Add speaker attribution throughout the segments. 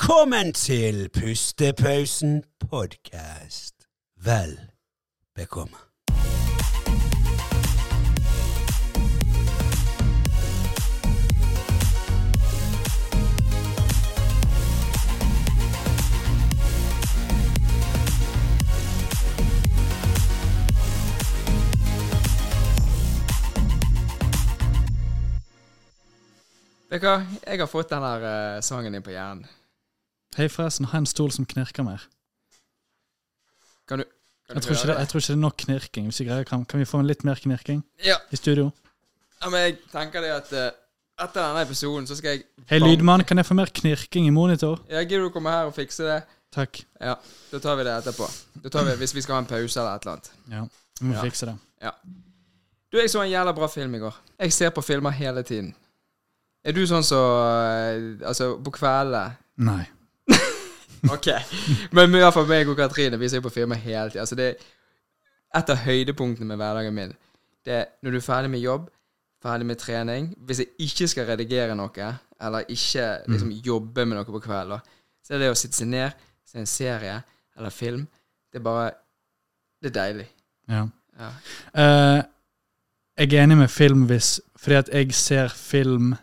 Speaker 1: Velkommen til Pustepausen podkast. Vel bekomme.
Speaker 2: Vet du hva, jeg har fått den der eh, sangen din på hjernen.
Speaker 3: Hei, forresten, ha en stol som knirker mer.
Speaker 2: Kan du, kan
Speaker 3: Jeg
Speaker 2: du
Speaker 3: tror, ikke det,
Speaker 2: høre
Speaker 3: jeg tror ikke det er nok knirking. Hvis vi greier, kan, kan vi få en litt mer knirking
Speaker 2: Ja,
Speaker 3: i studio?
Speaker 2: ja, men jeg tenker det at eh, etter denne episoden så skal jeg
Speaker 3: Hei, lydmann, kan jeg få mer knirking i monitor?
Speaker 2: Ja, Gidder du komme her og fikse det?
Speaker 3: Takk.
Speaker 2: Ja, da tar vi det etterpå. Da tar vi Hvis vi skal ha en pause eller et eller annet.
Speaker 3: Ja, vi må
Speaker 2: Ja.
Speaker 3: fikse det.
Speaker 2: Du, jeg så en jævla bra film i går. Jeg ser på filmer hele tiden. Er du sånn som eh, Altså, på kveldene
Speaker 3: Nei.
Speaker 2: Ok. Men i hvert fall meg og Katrine Vi ser på firma hele tiden. Altså det er et av høydepunktene med hverdagen min. Det er når du er ferdig med jobb, ferdig med trening Hvis jeg ikke skal redigere noe, eller ikke liksom,
Speaker 3: Mm.
Speaker 2: jobbe med noe på kvelden, da, så er det å sitte seg ned, se en serie eller film Det er bare Det er deilig.
Speaker 3: Ja.
Speaker 2: Ja.
Speaker 3: Eh, jeg er enig med film hvis Fordi at jeg ser film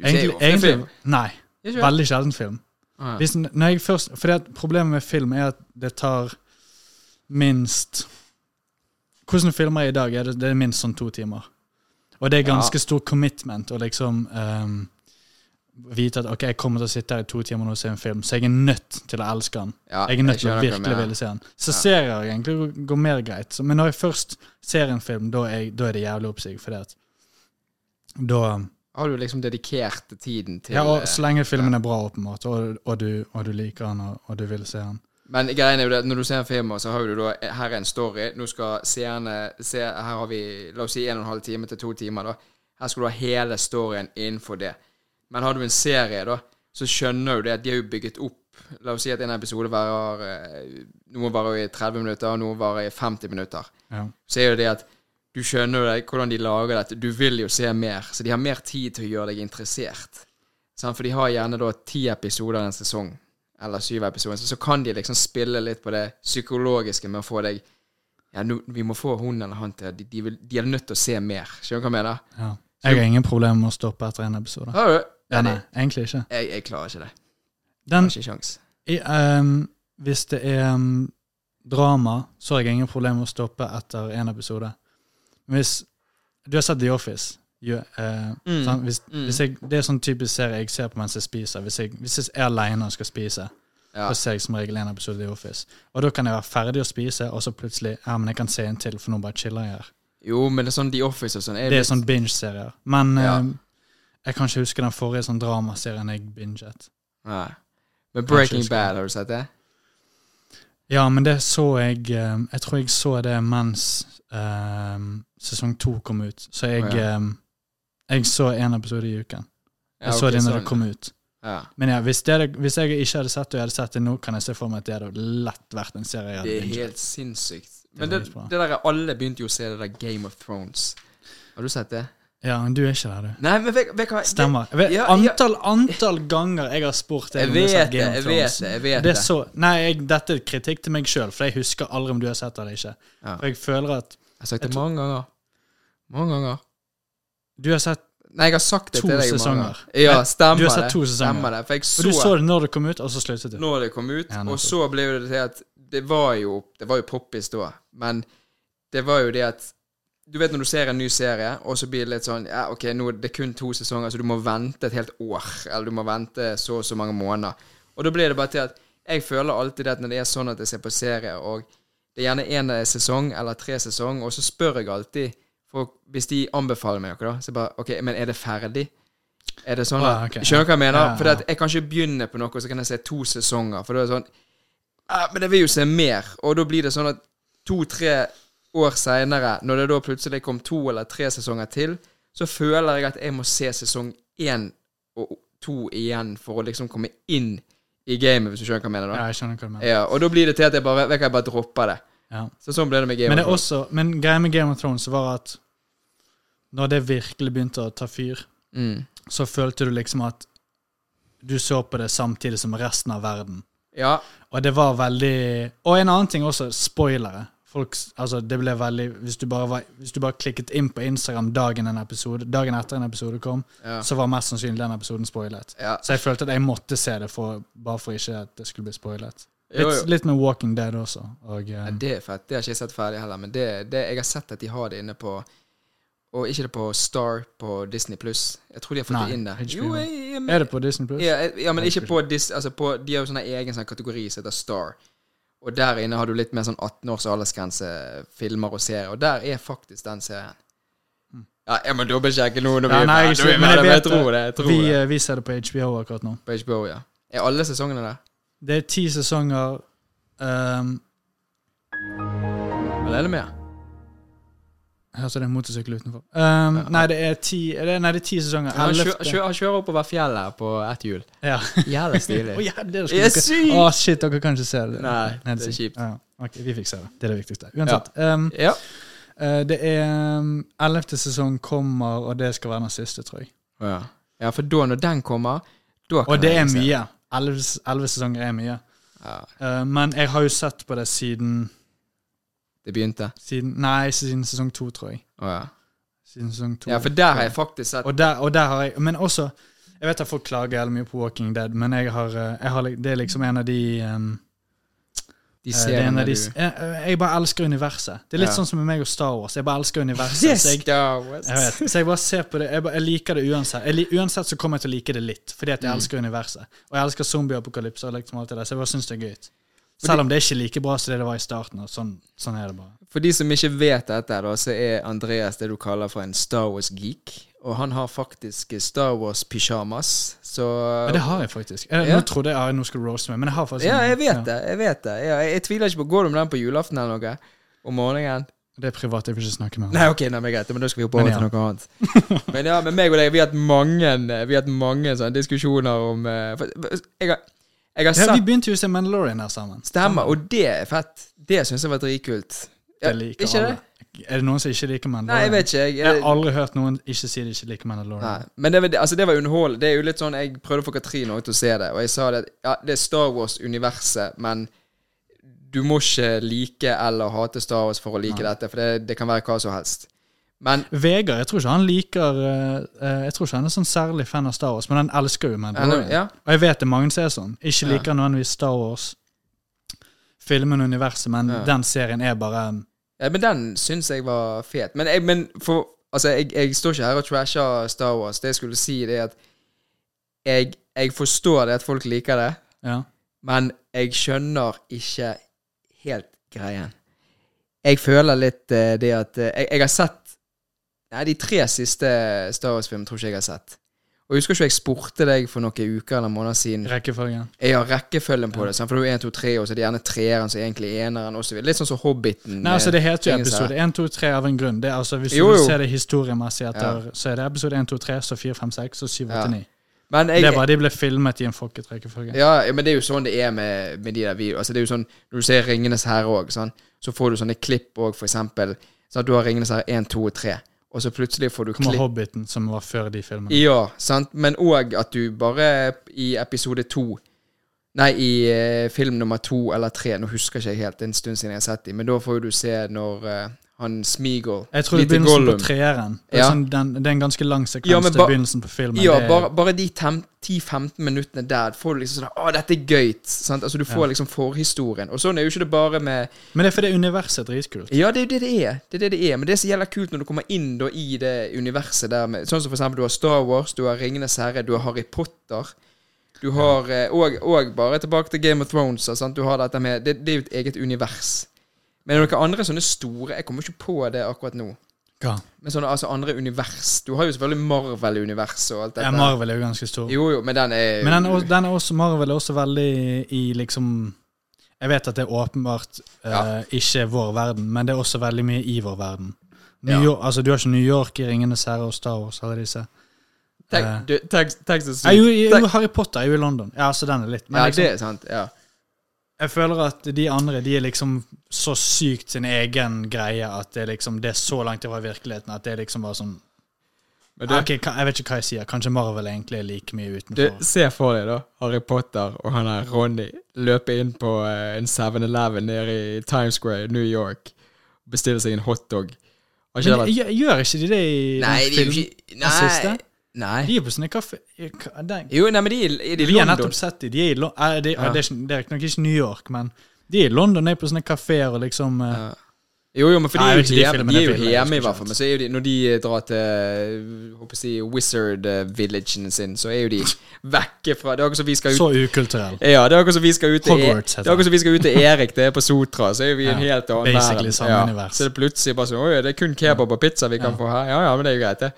Speaker 2: Du ser jo ofte film.
Speaker 3: Nei.
Speaker 2: Gjør ikke det?
Speaker 3: Veldig sjelden film.
Speaker 2: Ah, ja.
Speaker 3: Hvis, n- når jeg først, fordi at Problemet med film er at det tar minst Hvordan filmer er i dag? Er det, det er minst sånn to timer. Og det er ganske
Speaker 2: Ja.
Speaker 3: stor commitment å liksom ehm, vite at ok, jeg kommer til å sitte her i to timer nå og se en film, så jeg er nødt til å elske den.
Speaker 2: Ja,
Speaker 3: Jeg er nødt til å
Speaker 2: skjønner hva du
Speaker 3: virkelig
Speaker 2: mener.
Speaker 3: ville se den. Så
Speaker 2: Ja.
Speaker 3: serier egentlig går- går mer greit. Så, men når jeg først ser en film, da er, jeg- da er det jævlig oppsig, fordi at da
Speaker 2: Har du liksom dedikert tiden til
Speaker 3: ja,
Speaker 2: eh,
Speaker 3: og Så lenge filmen er bra, åpenbart, og, og, du, og du liker den, og, og du vil se den.
Speaker 2: Men greien er jo det at når du ser en film, så har jo du da Her er en story. Nå skal seerne se Her har vi la oss si en og en halv time til to timer. da Her skal du ha hele storyen innenfor det. Men har du en serie, da, så skjønner du det at de har jo bygget opp La oss si at en episode varer eh, Noen varer i 30 minutter, og noen varer i 50 minutter.
Speaker 3: Ja.
Speaker 2: Så er jo det at du skjønner jo det, hvordan de lager dette. Du vil jo se mer, så de har mer tid til å gjøre deg interessert. Sant? For de har gjerne da ti episoder en sesong, eller syv episoder, så, så kan de liksom spille litt på det psykologiske med å få deg ja, nå, Vi må få hun eller han til De, de, vil, de er nødt til å se mer. Skjønner du hva jeg mener?
Speaker 3: Ja. Jeg har ingen problemer med å stoppe etter en episode.
Speaker 2: Har du?
Speaker 3: Ja, nei,
Speaker 2: jeg,
Speaker 3: egentlig ikke.
Speaker 2: jeg klarer ikke det. Jeg
Speaker 3: Den,
Speaker 2: har ikke kjangs.
Speaker 3: i, ehm, hvis det er ehm, drama, så har jeg ingen problemer med å stoppe etter en episode. Hvis Du har sett The Office. Jo, eh,
Speaker 2: Mm.
Speaker 3: sant? Hvis,
Speaker 2: Mm.
Speaker 3: hvis jeg, det er sånn typisk serie jeg ser på mens jeg spiser. Hvis jeg, hvis jeg er aleine og skal spise,
Speaker 2: Ja.
Speaker 3: så ser jeg som regel en episode i The Office. Og da kan jeg være ferdig å spise, og så plutselig ja, men jeg kan se en til, for nå bare chiller jeg her.
Speaker 2: Jo, men det er sånn The Office og sånn. er
Speaker 3: Det er
Speaker 2: litt-
Speaker 3: sånn binge-serier. Men
Speaker 2: Ja.
Speaker 3: eh, jeg kan ikke huske den forrige sånn dramaserien jeg binget.
Speaker 2: Nei. Men
Speaker 3: Kanskje
Speaker 2: Breaking
Speaker 3: jeg skal-
Speaker 2: Bad, har du sett det?
Speaker 3: Ja, men det så jeg eh, Jeg tror jeg så det mens eh, sesong to kom ut. Så jeg
Speaker 2: Å, ja.
Speaker 3: eh, Jeg så én episode i uken. Jeg
Speaker 2: Ja,
Speaker 3: så
Speaker 2: ok,
Speaker 3: det når
Speaker 2: sånn.
Speaker 3: det kom ut.
Speaker 2: Ja.
Speaker 3: Men ja, hvis, det, hadde- hvis jeg ikke hadde sett det, og jeg hadde sett det nå, kan jeg se for meg at det hadde lett vært en serie. jeg
Speaker 2: Det er
Speaker 3: hadde binget.
Speaker 2: helt sinnssykt.
Speaker 3: var
Speaker 2: Men det,
Speaker 3: dritbra.
Speaker 2: det der alle begynte jo å se det der Game of Thrones. Har du sett det?
Speaker 3: Ja, men du er ikke der, du.
Speaker 2: Nei, men vet vet du hva
Speaker 3: Stemmer. Jeg vet,
Speaker 2: Ja, ja.
Speaker 3: antall, antall ganger jeg har spurt deg
Speaker 2: Jeg
Speaker 3: om du har
Speaker 2: vet
Speaker 3: sett
Speaker 2: det,
Speaker 3: Game
Speaker 2: jeg
Speaker 3: of
Speaker 2: vet
Speaker 3: Thrones.
Speaker 2: det. jeg vet
Speaker 3: Det
Speaker 2: det.
Speaker 3: er så, nei, jeg, dette er kritikk til meg sjøl, for jeg husker aldri om du har sett det eller ikke.
Speaker 2: Ja.
Speaker 3: For jeg føler at
Speaker 2: Jeg har sagt det
Speaker 3: jeg tror-
Speaker 2: mange ganger. Mange ganger.
Speaker 3: du har sett
Speaker 2: Nei, jeg har sagt det
Speaker 3: To
Speaker 2: til deg mange
Speaker 3: sesonger.
Speaker 2: ganger. Ja,
Speaker 3: Nei,
Speaker 2: stemmer
Speaker 3: du har sett
Speaker 2: det.
Speaker 3: to sesonger.
Speaker 2: Stemmer det. For jeg
Speaker 3: For du
Speaker 2: så,
Speaker 3: så det når det kom ut, og så sluttet du.
Speaker 2: når det kom ut,
Speaker 3: Ja, nettopp.
Speaker 2: og så ble jo det til at Det var jo Det var jo poppis da, men det var jo det at Du vet når du ser en ny serie, og så blir det litt sånn Ja, OK, nå er det kun to sesonger, så du må vente et helt år. Eller du må vente så og så mange måneder. Og da blir det bare til at Jeg føler alltid det at når det er sånn at jeg ser på serier, og det er gjerne én sesong eller tre sesong, og så spør jeg alltid folk Hvis de anbefaler meg noe, da, så bare OK, men er det ferdig? Er det sånn
Speaker 3: Ah,
Speaker 2: at,
Speaker 3: ok.
Speaker 2: Skjønner du hva jeg mener?
Speaker 3: Ja, ja.
Speaker 2: For jeg kan ikke begynne på noe, og så kan jeg se to sesonger. For da er det sånn «Ah, Men jeg vil jo se mer. Og da blir det sånn at to-tre år seinere, når det da plutselig kom to eller tre sesonger til, så føler jeg at jeg må se sesong én og to igjen for å liksom komme inn i gamet, hvis du skjønner hva jeg mener? da
Speaker 3: Ja, jeg skjønner hva du mener.
Speaker 2: ja, og da blir det til at jeg bare, vet du hva, jeg bare dropper det.
Speaker 3: Ja.
Speaker 2: Så sånn ble det med Game
Speaker 3: Men, det
Speaker 2: of
Speaker 3: er
Speaker 2: Thrones.
Speaker 3: også, men greia med Game of Thrones var at når det virkelig begynte å ta fyr,
Speaker 2: Mm.
Speaker 3: så følte du liksom at du så på det samtidig som resten av verden.
Speaker 2: Ja,
Speaker 3: Og det var veldig Og en annen ting også, spoilere. Folk, s- altså det ble veldig hvis du, bare var, hvis du bare klikket inn på Instagram dagen, en episode, dagen etter en episode kom,
Speaker 2: Ja.
Speaker 3: så var mest sannsynlig den episoden spoilet.
Speaker 2: Ja.
Speaker 3: Så jeg følte at jeg måtte se det for, bare for ikke at det skulle bli spoilet. Litt,
Speaker 2: Jo, jo.
Speaker 3: litt med Walking Dead også. Og, eh,
Speaker 2: Ja, det er fett. Det har ikke jeg sett ferdig heller, men det, det, jeg har sett at de har det inne på Og ikke det på Star på Disney pluss. Jeg tror de har fått
Speaker 3: Nei,
Speaker 2: det inn der.
Speaker 3: HBO.
Speaker 2: Jo, jeg, jeg,
Speaker 3: er det på Disney Plus?
Speaker 2: Ja, jeg- ja, men ikke på Dis... Altså på, de har jo sånn egen sånn kategori som heter Star. Og der inne har du litt mer sånn 18 års aldersgrense, filmer og serier. Og der er faktisk den serien. Ja, ja men dobbeltsjekke nå når vi
Speaker 3: Ja, Mm. nei, jeg,
Speaker 2: er ferdig.
Speaker 3: ikke,
Speaker 2: Men
Speaker 3: men jeg,
Speaker 2: jeg
Speaker 3: vet
Speaker 2: tror det. Jeg tror
Speaker 3: vi,
Speaker 2: det.
Speaker 3: eh, vi ser det på HBO akkurat nå.
Speaker 2: På HBO, ja. Er alle sesongene der?
Speaker 3: Det er ti sesonger. ehm,
Speaker 2: Eller er det mer?
Speaker 3: Jeg hørte det er en motorsykkel utenfor. Ehm, Nei, det er ti, er det, nei, det er ti sesonger.
Speaker 2: Han kjører,
Speaker 3: Ellevte-
Speaker 2: kjører, kjører oppover fjellet på ett hjul.
Speaker 3: Ja.
Speaker 2: Jævla
Speaker 3: Å,
Speaker 2: stilig.
Speaker 3: ja, det er
Speaker 2: Det er sykt!
Speaker 3: Å, shit, dere kan ikke se det.
Speaker 2: Nei, det er
Speaker 3: sykt.
Speaker 2: kjipt.
Speaker 3: Ja, ok, vi fikk se det. Det er det viktigste. Uansett. ehm,
Speaker 2: Ja.
Speaker 3: eh, det er Ellevte sesong kommer, og det skal være den siste, tror jeg.
Speaker 2: ja. Ja, for da, når den kommer, da kan
Speaker 3: Og det
Speaker 2: jeg
Speaker 3: er
Speaker 2: se.
Speaker 3: mye. Elleve s- elleve sesonger er mye.
Speaker 2: Ja,
Speaker 3: Eh, men jeg har jo sett på det siden,
Speaker 2: det begynte.
Speaker 3: siden Nei, siden sesong to, tror jeg.
Speaker 2: Å, ja.
Speaker 3: Siden sesong to.
Speaker 2: ja, for der har jeg faktisk sett
Speaker 3: Og der, og der har jeg Men også Jeg vet at folk klager jævlig mye på Walking Dead, men jeg har, eh, jeg har li- det er liksom en av de, um,
Speaker 2: de
Speaker 3: eh, det er en
Speaker 2: seriene
Speaker 3: av de
Speaker 2: du
Speaker 3: s- jeg, jeg bare elsker universet. Det er litt
Speaker 2: Ja.
Speaker 3: sånn som med meg og Star Wars. Jeg bare elsker universet.
Speaker 2: Yes,
Speaker 3: Så, jeg,
Speaker 2: Star Wars.
Speaker 3: jeg vet, så jeg bare ser på det. Jeg, bare, jeg liker det uansett. Jeg, li- uansett så kommer jeg til å like det litt, fordi at jeg
Speaker 2: Mm.
Speaker 3: elsker universet. Og jeg elsker zombieapokalypse og liksom alt det der, så jeg bare syns det er gøy. Selv om det er ikke like bra som det det var i starten. Og sånn, sånn er det bare.
Speaker 2: For de som ikke vet dette, da, så er Andreas det du kaller for en Star Wars-geek. Og han har faktisk Star Wars-pysjamas, så
Speaker 3: Men det har jeg faktisk. Jeg,
Speaker 2: Ja.
Speaker 3: Nå trodde jeg ja, nå skulle roast meg, men jeg har faktisk
Speaker 2: Ja, jeg vet
Speaker 3: ja.
Speaker 2: det. Jeg vet det ja, jeg, jeg tviler ikke på Går du med den på julaften eller noe? Om morgenen?
Speaker 3: Det er privat, jeg vil ikke snakke med ham.
Speaker 2: Nei, ok, nei, men greit, men da skal vi hoppe over
Speaker 3: Men ja.
Speaker 2: til noe annet. Men ja, men meg og deg, vi har hatt mange Vi har hatt mange sånne diskusjoner om eh, for- Jeg har, jeg har
Speaker 3: Ja, vi
Speaker 2: sett
Speaker 3: begynte jo å se Mandalorian her sammen.
Speaker 2: Stemmer, og det er fett. Det syns jeg var dritkult. Ja,
Speaker 3: Jeg liker
Speaker 2: ikke
Speaker 3: alle. Er det noen som ikke liker Mandalorian?
Speaker 2: Nei, jeg vet ikke. Jeg,
Speaker 3: Jeg har aldri hørt noen ikke si de ikke liker Mandalorian.
Speaker 2: Nei, men det, var- altså det var underhold. Det er jo litt sånn, Jeg prøvde å få Katrin også til å se det, og jeg sa det at ja, det er Star Wars-universet, men du må ikke like eller hate Star Wars for å like dette, for det, det kan være hva som helst. Men
Speaker 3: Vegard, jeg tror ikke han liker eh, eh, Jeg tror ikke han er sånn særlig fan av Star Wars, men han elsker jo Mandalorian.
Speaker 2: Ja.
Speaker 3: Og jeg vet det er mange som er sånn. Ikke
Speaker 2: Ja.
Speaker 3: liker nødvendigvis Star Wars, filmen, universet, men
Speaker 2: Ja.
Speaker 3: den serien er bare
Speaker 2: Ja, men den syns jeg var fet. Men, jeg, men for Altså, jeg, jeg står ikke her og trasher Star Wars. Det jeg skulle si, det er at jeg, jeg forstår det at folk liker det,
Speaker 3: Ja.
Speaker 2: men jeg skjønner ikke helt greien. Jeg føler litt eh, det at eh, jeg, jeg har sett Nei, de tre siste Star Wars-filmene tror ikke jeg har sett. Og jeg husker ikke jeg spurte deg for noen uker eller måneder siden
Speaker 3: Rekkefølgen.
Speaker 2: Jeg har rekkefølgen på det. Sant? For det er jo 1, 2, 3, og så er det gjerne treeren som er egentlig eneren osv. Litt sånn som Hobbiten.
Speaker 3: Nei, altså Det heter jo
Speaker 2: Ingen sa-
Speaker 3: episode 1, 2, 3 av en grunn. Det er altså, Hvis
Speaker 2: Jo,
Speaker 3: du
Speaker 2: jo.
Speaker 3: ser det historiemessig, etter, så er det episode 1, 2, 3, så 4, 5, 6, så 7, 8,
Speaker 2: Ja.
Speaker 3: 9.
Speaker 2: Men
Speaker 3: Det
Speaker 2: jeg,
Speaker 3: er bare de ble filmet i en fucket rekkefølge.
Speaker 2: Ja, ja, men det er jo sånn det er med, med de der videoene. Altså, det er jo sånn, når du ser Ringenes herre òg, sånn, så får du sånne klipp òg, for eksempel. Sånn at du har Ringenes herre 1, 2 og 3, og så plutselig får du
Speaker 3: Kommer
Speaker 2: klipp.
Speaker 3: Hobbiten, som var før de filmene.
Speaker 2: Ja, sant? Men òg at du bare i episode to Nei, i eh, film nummer to eller tre, nå husker ikke jeg helt, det er en stund siden jeg har sett dem, men da får jo du se når eh, han Smeagol
Speaker 3: Jeg tror det er
Speaker 2: lite
Speaker 3: begynnelsen
Speaker 2: Gollum.
Speaker 3: på treeren. Det, er
Speaker 2: Ja.
Speaker 3: sånn, den, det er en ganske lang sekvens.
Speaker 2: Ja, men
Speaker 3: det
Speaker 2: ba-
Speaker 3: er begynnelsen på filmen.
Speaker 2: Ja,
Speaker 3: det er,
Speaker 2: bare, bare de tem- 10-15 minuttene der får du liksom sånn Å, dette er gøy! Sant? Altså, du får liksom forhistorien. Og sånn er jo ikke det bare med
Speaker 3: Men det er fordi universet er dritkult.
Speaker 2: Ja, det er jo det det er. Det er det det er. Men det som gjelder kult når du kommer inn da i det universet der med, Sånn som for eksempel du har Star Wars, du har Ringenes herre, du har Harry Potter. Du har eh, og, og bare tilbake til Game of Thrones. da, Sant? Du har dette med det, det er jo et eget univers. Men er det noen andre sånne store Jeg kommer ikke på det akkurat nå.
Speaker 3: Ja.
Speaker 2: Men sånne altså andre univers Du har jo selvfølgelig Marvel-universet og alt dette.
Speaker 3: Marvel er jo ganske stor.
Speaker 2: Jo, jo, men den er
Speaker 3: Men den, er også- den er også, Marvel er også veldig i liksom Jeg vet at det er åpenbart eh,
Speaker 2: Ja.
Speaker 3: ikke vår verden, men det er også veldig mye i vår verden. New
Speaker 2: Ja.
Speaker 3: York, altså Du har ikke New York i 'Ringenes herre' og Star Wars, alle disse.
Speaker 2: Tenk,
Speaker 3: eh,
Speaker 2: du, tenk, tenk så sykt.
Speaker 3: Nei, jo, jo,
Speaker 2: Tenk-
Speaker 3: Harry Potter er jo i London. Ja, så den er litt men
Speaker 2: Ja,
Speaker 3: liksom,
Speaker 2: det er sant. Ja.
Speaker 3: Jeg føler at de andre de er liksom så sykt sin egen greie at det er liksom det er så langt ifra virkeligheten at det er liksom bare sånn
Speaker 2: Men det-
Speaker 3: Ok, ka- Jeg vet ikke hva jeg sier. Kanskje Marvel egentlig er like mye
Speaker 2: Du,
Speaker 3: utenfor.
Speaker 2: Se for deg, da. Harry Potter og han her Ronny løpe inn på eh, en 7-Eleven nede i Times Square i New York. Bestille seg en hotdog. Har ikke det
Speaker 3: Men
Speaker 2: vært
Speaker 3: gjør- gjør ikke de det i den
Speaker 2: Nei, de er jo
Speaker 3: filmen?
Speaker 2: ikke
Speaker 3: Den siste?
Speaker 2: Nei. nei.
Speaker 3: De er på sånne kaffe... ka- den-
Speaker 2: Jo, nei, men de er i- de er
Speaker 3: Vi
Speaker 2: i
Speaker 3: har
Speaker 2: London.
Speaker 3: nettopp sett de. De er i Lon- eh, de, eh,
Speaker 2: Ja.
Speaker 3: det er ikke- det er nok ikke New York, men de er i London, er på sånne kafeer og liksom eh,
Speaker 2: Ja. Jo, jo, men for de
Speaker 3: Nei,
Speaker 2: er
Speaker 3: jeg
Speaker 2: jo
Speaker 3: vet ikke, de
Speaker 2: hjemme,
Speaker 3: filmene
Speaker 2: de er jo
Speaker 3: filmer jeg
Speaker 2: hjemme i
Speaker 3: husker
Speaker 2: hvert fall. Men så er jo de, når de eh, drar til eh, håper jeg å si, Wizard-villagen sin, så er jo de vekke fra Det er akkurat som vi skal ut
Speaker 3: Så ukulturell.
Speaker 2: Ja, det er akkurat som vi skal ut til E-
Speaker 3: Hogwarts heter
Speaker 2: Det er akkurat som vi skal ut til Erik, det er på Sotra, så er vi i en
Speaker 3: Ja,
Speaker 2: helt annen
Speaker 3: basically
Speaker 2: verden.
Speaker 3: samme
Speaker 2: ja.
Speaker 3: univers.
Speaker 2: Så det er plutselig bare sånn Oi, det er kun kebab og pizza vi kan få her. Ja ja, men det er jo greit, det.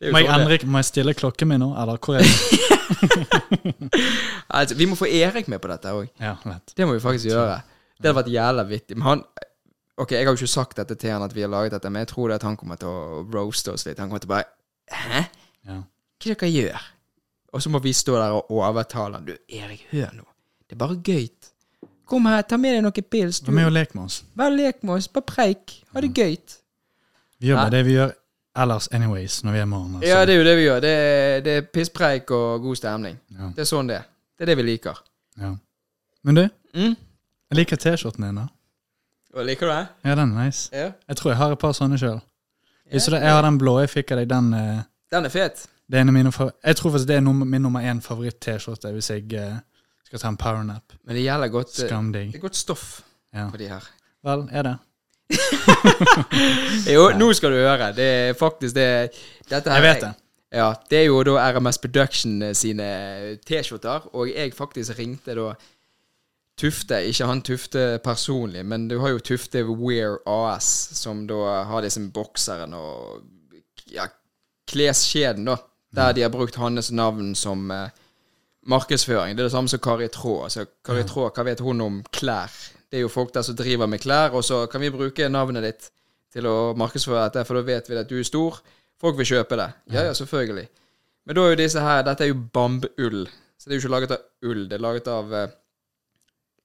Speaker 2: det er jo
Speaker 3: Må jeg,
Speaker 2: sånn det-
Speaker 3: endre, må jeg stille klokken min nå, eller hvor er den?
Speaker 2: Altså, vi må få Erik med på dette òg.
Speaker 3: Ja, lett.
Speaker 2: Det må vi faktisk gjøre. Det hadde vært jævla vittig. Men han Ok, jeg har jo ikke sagt dette til han at vi har laget dette, men jeg tror det at han kommer til å roaste oss litt. Han kommer til å bare Hæ?
Speaker 3: Ja.
Speaker 2: Hva er det dere gjør? Og så må vi stå der og overtale han. Du, Erik, hør nå. Det er bare gøy. Kom her, ta med deg noen pils.
Speaker 3: Vær med og lek med oss.
Speaker 2: Vær lek med oss, bare preik. Ha det gøy.
Speaker 3: Vi gjør
Speaker 2: Nei.
Speaker 3: bare det vi gjør ellers anyways når vi er morgen. altså.
Speaker 2: Ja, det er jo det vi gjør. Det er, det er pisspreik og god stemning.
Speaker 3: Ja.
Speaker 2: Det er sånn det er. Det er det vi liker.
Speaker 3: Ja. Men du,
Speaker 2: Mm.
Speaker 3: jeg liker T-skjorten din. da.
Speaker 2: Og liker du det?
Speaker 3: Ja, den er nice.
Speaker 2: Ja.
Speaker 3: Jeg tror jeg har et par sånne sjøl.
Speaker 2: Ja.
Speaker 3: Jeg har den blå jeg fikk av deg. den... eh,
Speaker 2: Den er fet.
Speaker 3: Det er en av mine favor- Jeg tror faktisk det er nummer, min nummer én favoritt-T-skjorte hvis jeg eh, skal ta en powernap.
Speaker 2: Men det gjelder godt eh,
Speaker 3: Skamdigg.
Speaker 2: Det er godt stoff
Speaker 3: Ja.
Speaker 2: på de her.
Speaker 3: Vel, er det?
Speaker 2: Jo, nå skal du høre. Det er faktisk det dette her,
Speaker 3: Jeg vet det.
Speaker 2: Ja, det er jo da RMS Production eh, sine T-skjorter, og jeg faktisk ringte da Tufte, ikke han Tufte personlig, men du har jo Tufte Wear AS, som da har disse bokserne og ja, kleskjeden, da, der de har brukt hans navn som eh, markedsføring. Det er det samme som Kari Traa. Altså, Kari Traa, hva vet hun om klær? Det er jo folk der som driver med klær, og så kan vi bruke navnet ditt til å markedsføre dette, for da vet vi at du er stor. Folk vil kjøpe det. Ja, ja, selvfølgelig. Men da er jo disse her Dette er jo bambull. Så det er jo ikke laget av ull. Det er laget av eh,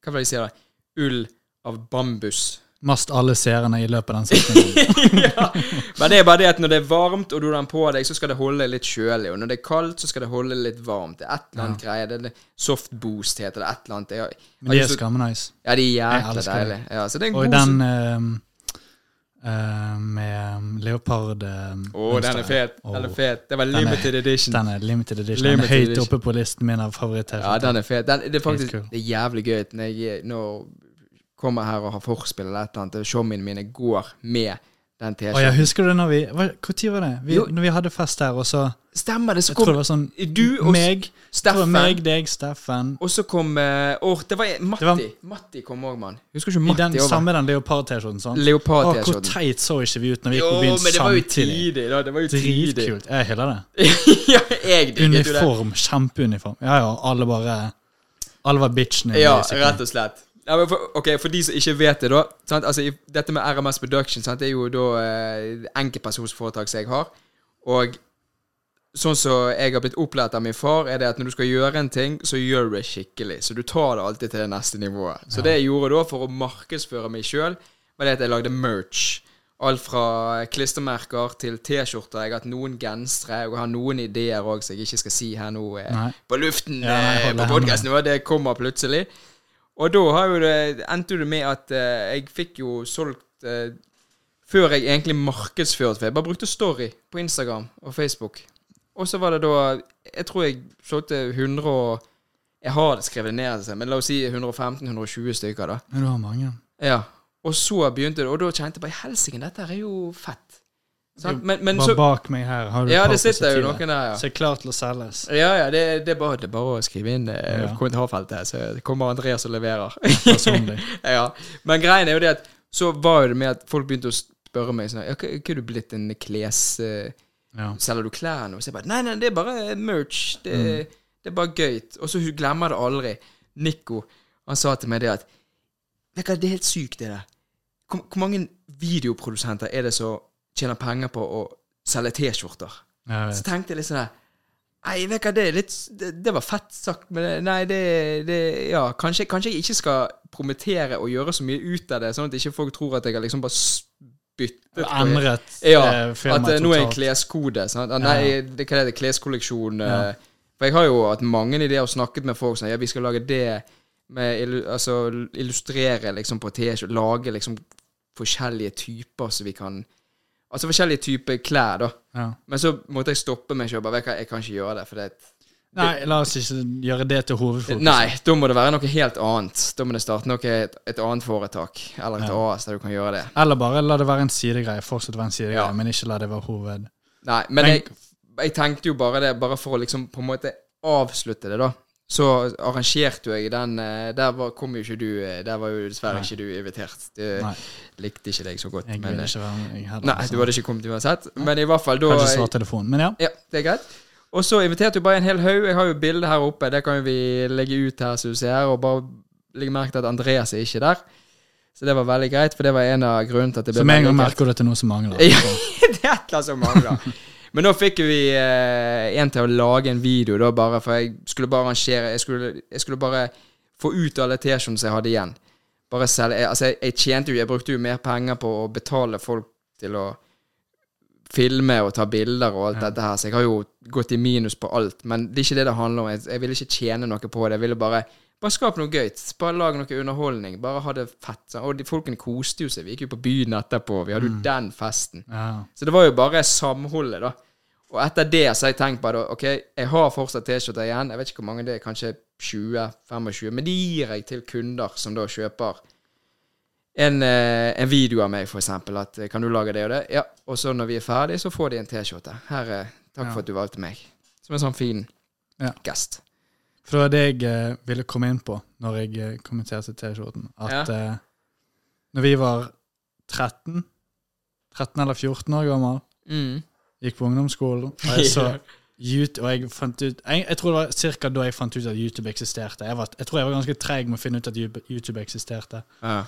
Speaker 2: Hva var det de sier der? Ull av bambus.
Speaker 3: Mast alle seerne i løpet av den setningen.
Speaker 2: ja. Men det er bare det at når det er varmt og du har den på deg, så skal det holde litt kjølig. Og når det er kaldt, så skal det holde litt varmt. Det er et eller annet greie. Det er det- soft boost heter det. Et eller annet. Jeg,
Speaker 3: Men de er skamnice.
Speaker 2: ja, de er
Speaker 3: Jeg
Speaker 2: jækla
Speaker 3: elsker det.
Speaker 2: deilige. Ja, så det er en
Speaker 3: Og
Speaker 2: god
Speaker 3: den eh, eh, med um, leopard eh,
Speaker 2: Å, den er
Speaker 3: mønsteret.
Speaker 2: fet. Den er
Speaker 3: Åh,
Speaker 2: fet. Det var limited edition.
Speaker 3: Den er limited edition.
Speaker 2: Limited
Speaker 3: den er høyt
Speaker 2: edition.
Speaker 3: oppe på listen min av favoritt-T-skjorter.
Speaker 2: Ja, den er fet. Den, det er faktisk
Speaker 3: Helt cool.
Speaker 2: det er jævlig gøy når jeg når kommer her og har forspill eller et eller annet. og Showmine mine går med den
Speaker 3: Å, jeg
Speaker 2: T-skjorten.
Speaker 3: husker du når vi hva, Hvor tid var det? Vi,
Speaker 2: Jo.
Speaker 3: når vi hadde fest her, og så
Speaker 2: Stemmer det, så
Speaker 3: Jeg tror det
Speaker 2: kom
Speaker 3: var sånn
Speaker 2: du og
Speaker 3: meg, det var
Speaker 2: Steffen.
Speaker 3: meg, deg, Steffen
Speaker 2: Og så kom eh, Åh, det var Matti.
Speaker 3: var-
Speaker 2: Matti kom òg, mann. Husker ikke
Speaker 3: I
Speaker 2: Matti
Speaker 3: den,
Speaker 2: over?
Speaker 3: samme den leopard-T-skjorten, sant? Å, hvor
Speaker 2: Leopard-T-skjorten.
Speaker 3: teit så ikke vi ut når vi
Speaker 2: Jo,
Speaker 3: gikk på byen
Speaker 2: men det var jo
Speaker 3: samtidig?
Speaker 2: tidlig, da. Det var jo tidlig.
Speaker 3: Dritkult. Jeg hyller det.
Speaker 2: ja, jeg digget jo det.
Speaker 3: Uniform. Kjempeuniform. Ja ja, alle bare Alle var bitchene.
Speaker 2: Ja,
Speaker 3: basically.
Speaker 2: rett og slett. Ja, men for, ok, For de som ikke vet det, da. Sant? Altså, i- dette med RMS Production sant? Det er jo da eh, enkeltpersonsforetak som jeg har. Og sånn som jeg har blitt opplært av min far, er det at når du skal gjøre en ting, så gjør du det skikkelig. Så du tar det alltid til det neste nivået. Så det jeg gjorde da for å markedsføre meg sjøl, var det at jeg lagde merch. Alt fra klistremerker til T-skjorter. Jeg har hatt noen gensere. Jeg har noen ideer òg som jeg ikke skal si her nå eh,
Speaker 3: Nei.
Speaker 2: på luften
Speaker 3: Ja, nei,
Speaker 2: eh, på
Speaker 3: hold det
Speaker 2: podkasten vår. Det kommer plutselig. Og da har jo det, endte jo det med at eh, jeg fikk jo solgt eh, før jeg egentlig markedsførte, for jeg bare brukte story på Instagram og Facebook. Og så var det da Jeg tror jeg solgte 100 og Jeg har det skrevet ned, altså, men la oss si 115-120 stykker, da.
Speaker 3: Men du har mange.
Speaker 2: Ja. Og så begynte det, og da kjente jeg bare Helsike, dette her er jo fett. Sant? Men, men
Speaker 3: Bare
Speaker 2: så
Speaker 3: bak meg her har du
Speaker 2: Ja,
Speaker 3: et par
Speaker 2: det sitter jo
Speaker 3: positiver.
Speaker 2: noen der, ja.
Speaker 3: Så er klar til å selges.
Speaker 2: Ja, ja, det, det, er bare, det er bare å skrive inn eh,
Speaker 3: Ja.
Speaker 2: kommentarfeltet, så kommer Andreas og leverer.
Speaker 3: Personlig.
Speaker 2: ja. Men greien er jo det at så var jo det med at folk begynte å spørre meg sånn ja, hva- hva er du blitt en kles... eh,
Speaker 3: Ja.
Speaker 2: Selger du klær nå? Så jeg bare Nei, nei, det er bare eh, merch. Det, det er bare gøy. Og så hun glemmer det aldri. Nico, han sa til meg det at Vet du hva, det er helt sykt, det der. Hvor, hvor mange videoprodusenter er det som tjener penger på å selge T-skjorter?
Speaker 3: Jeg
Speaker 2: Så
Speaker 3: vet.
Speaker 2: tenkte jeg litt sånn her Nei, vet du hva, det er litt det, det var fett sagt, men det- nei, det, det Ja, kanskje, kanskje jeg ikke skal promotere og gjøre så mye ut av det, sånn at ikke folk tror at jeg har liksom bare s- byttet på-
Speaker 3: Endret
Speaker 2: Ja,
Speaker 3: eh,
Speaker 2: at
Speaker 3: firmaet
Speaker 2: eh, nå er en
Speaker 3: totalt.
Speaker 2: kleskode. Sant? Ah,
Speaker 3: Ja.
Speaker 2: Nei, det, hva er det, kleskolleksjon eh,
Speaker 3: Ja.
Speaker 2: For jeg har jo hatt mange ideer og snakket med folk sånn Ja, vi skal lage det med illu- Altså illustrere liksom på T-skjorte, lage liksom forskjellige typer så vi kan Altså forskjellige typer klær, da.
Speaker 3: Ja.
Speaker 2: Men så måtte jeg stoppe meg selv. Bare, vet du hva, jeg kan ikke gjøre det. For det,
Speaker 3: Nei, la oss ikke gjøre det til hovedfokus.
Speaker 2: nei, da må det være noe helt annet. Da må det starte noe, et, et annet foretak. Eller et AS der du kan gjøre det.
Speaker 3: Eller bare la det være en sidegreie. Fortsett å være en sidegreie,
Speaker 2: Ja.
Speaker 3: men ikke la det være hoved.
Speaker 2: Nei, men
Speaker 3: Men-
Speaker 2: jeg, jeg tenkte jo bare det, bare for å liksom på en måte avslutte det, da. Så arrangerte jo jeg den eh, Der var, kom jo ikke du eh, Der var jo dessverre
Speaker 3: Nei.
Speaker 2: ikke du invitert. Du
Speaker 3: Nei.
Speaker 2: likte ikke deg så godt.
Speaker 3: Jeg
Speaker 2: Men,
Speaker 3: vil
Speaker 2: eh,
Speaker 3: ikke være med, jeg heller.
Speaker 2: nei, du hadde ikke kommet uansett. Men i hvert fall da
Speaker 3: Kanskje svare telefonen, men ja.
Speaker 2: Ja, det er greit. Og så inviterte du bare en hel haug. Jeg har jo bilde her oppe. Det kan jo vi legge ut her, som du ser. Og bare legge merke til at Andreas er ikke der. Så det var veldig greit, for det var en av grunnene til at det ble
Speaker 3: Så med en
Speaker 2: veldig
Speaker 3: gang
Speaker 2: greit.
Speaker 3: merker du at det er noe som mangler.
Speaker 2: Ja, det er et eller annet som mangler. Men nå fikk jo vi eh, en til å lage en video, da, bare for jeg skulle bare arrangere Jeg skulle, jeg skulle bare få ut alle T-skjortene som jeg hadde igjen. Bare selge jeg, Altså, jeg, jeg tjente jo Jeg brukte jo mer penger på å betale folk til å filme og ta bilder og alt dette her, så jeg har jo gått i minus på alt. Men det er ikke det det handler om. Jeg, jeg ville ikke tjene noe på det. Jeg ville bare bare skape noe gøy. Bare lag noe underholdning. Bare ha det fett. sånn. Og de folkene koste jo seg. Vi gikk jo på byen etterpå. Vi hadde jo den festen.
Speaker 3: Ja.
Speaker 2: Så det var jo bare samholdet, da. Og etter det så har jeg tenkt bare OK, jeg har fortsatt T-skjorter igjen. Jeg vet ikke hvor mange det er, kanskje 20-25, men de gir jeg til kunder som da kjøper en, eh, en video av meg, for eksempel. At eh, kan du lage det og det? Ja. Og så når vi er ferdig, så får de en T-skjorte. Her, eh, takk
Speaker 3: Ja.
Speaker 2: for at du valgte meg. Som en sånn fin
Speaker 3: Ja.
Speaker 2: gest.
Speaker 3: For det var det jeg eh, ville komme inn på når jeg eh, kommenterte T-skjorten. At eh, når vi var 13, 13 eller 14 år gammel,
Speaker 2: Mm.
Speaker 3: gikk på ungdomsskolen, og jeg så YouTube, og jeg fant ut jeg, jeg tror det var ca. da jeg fant ut at YouTube eksisterte. Jeg, var, jeg tror jeg var ganske treig med å finne ut at YouTube YouTube eksisterte.
Speaker 2: Ja.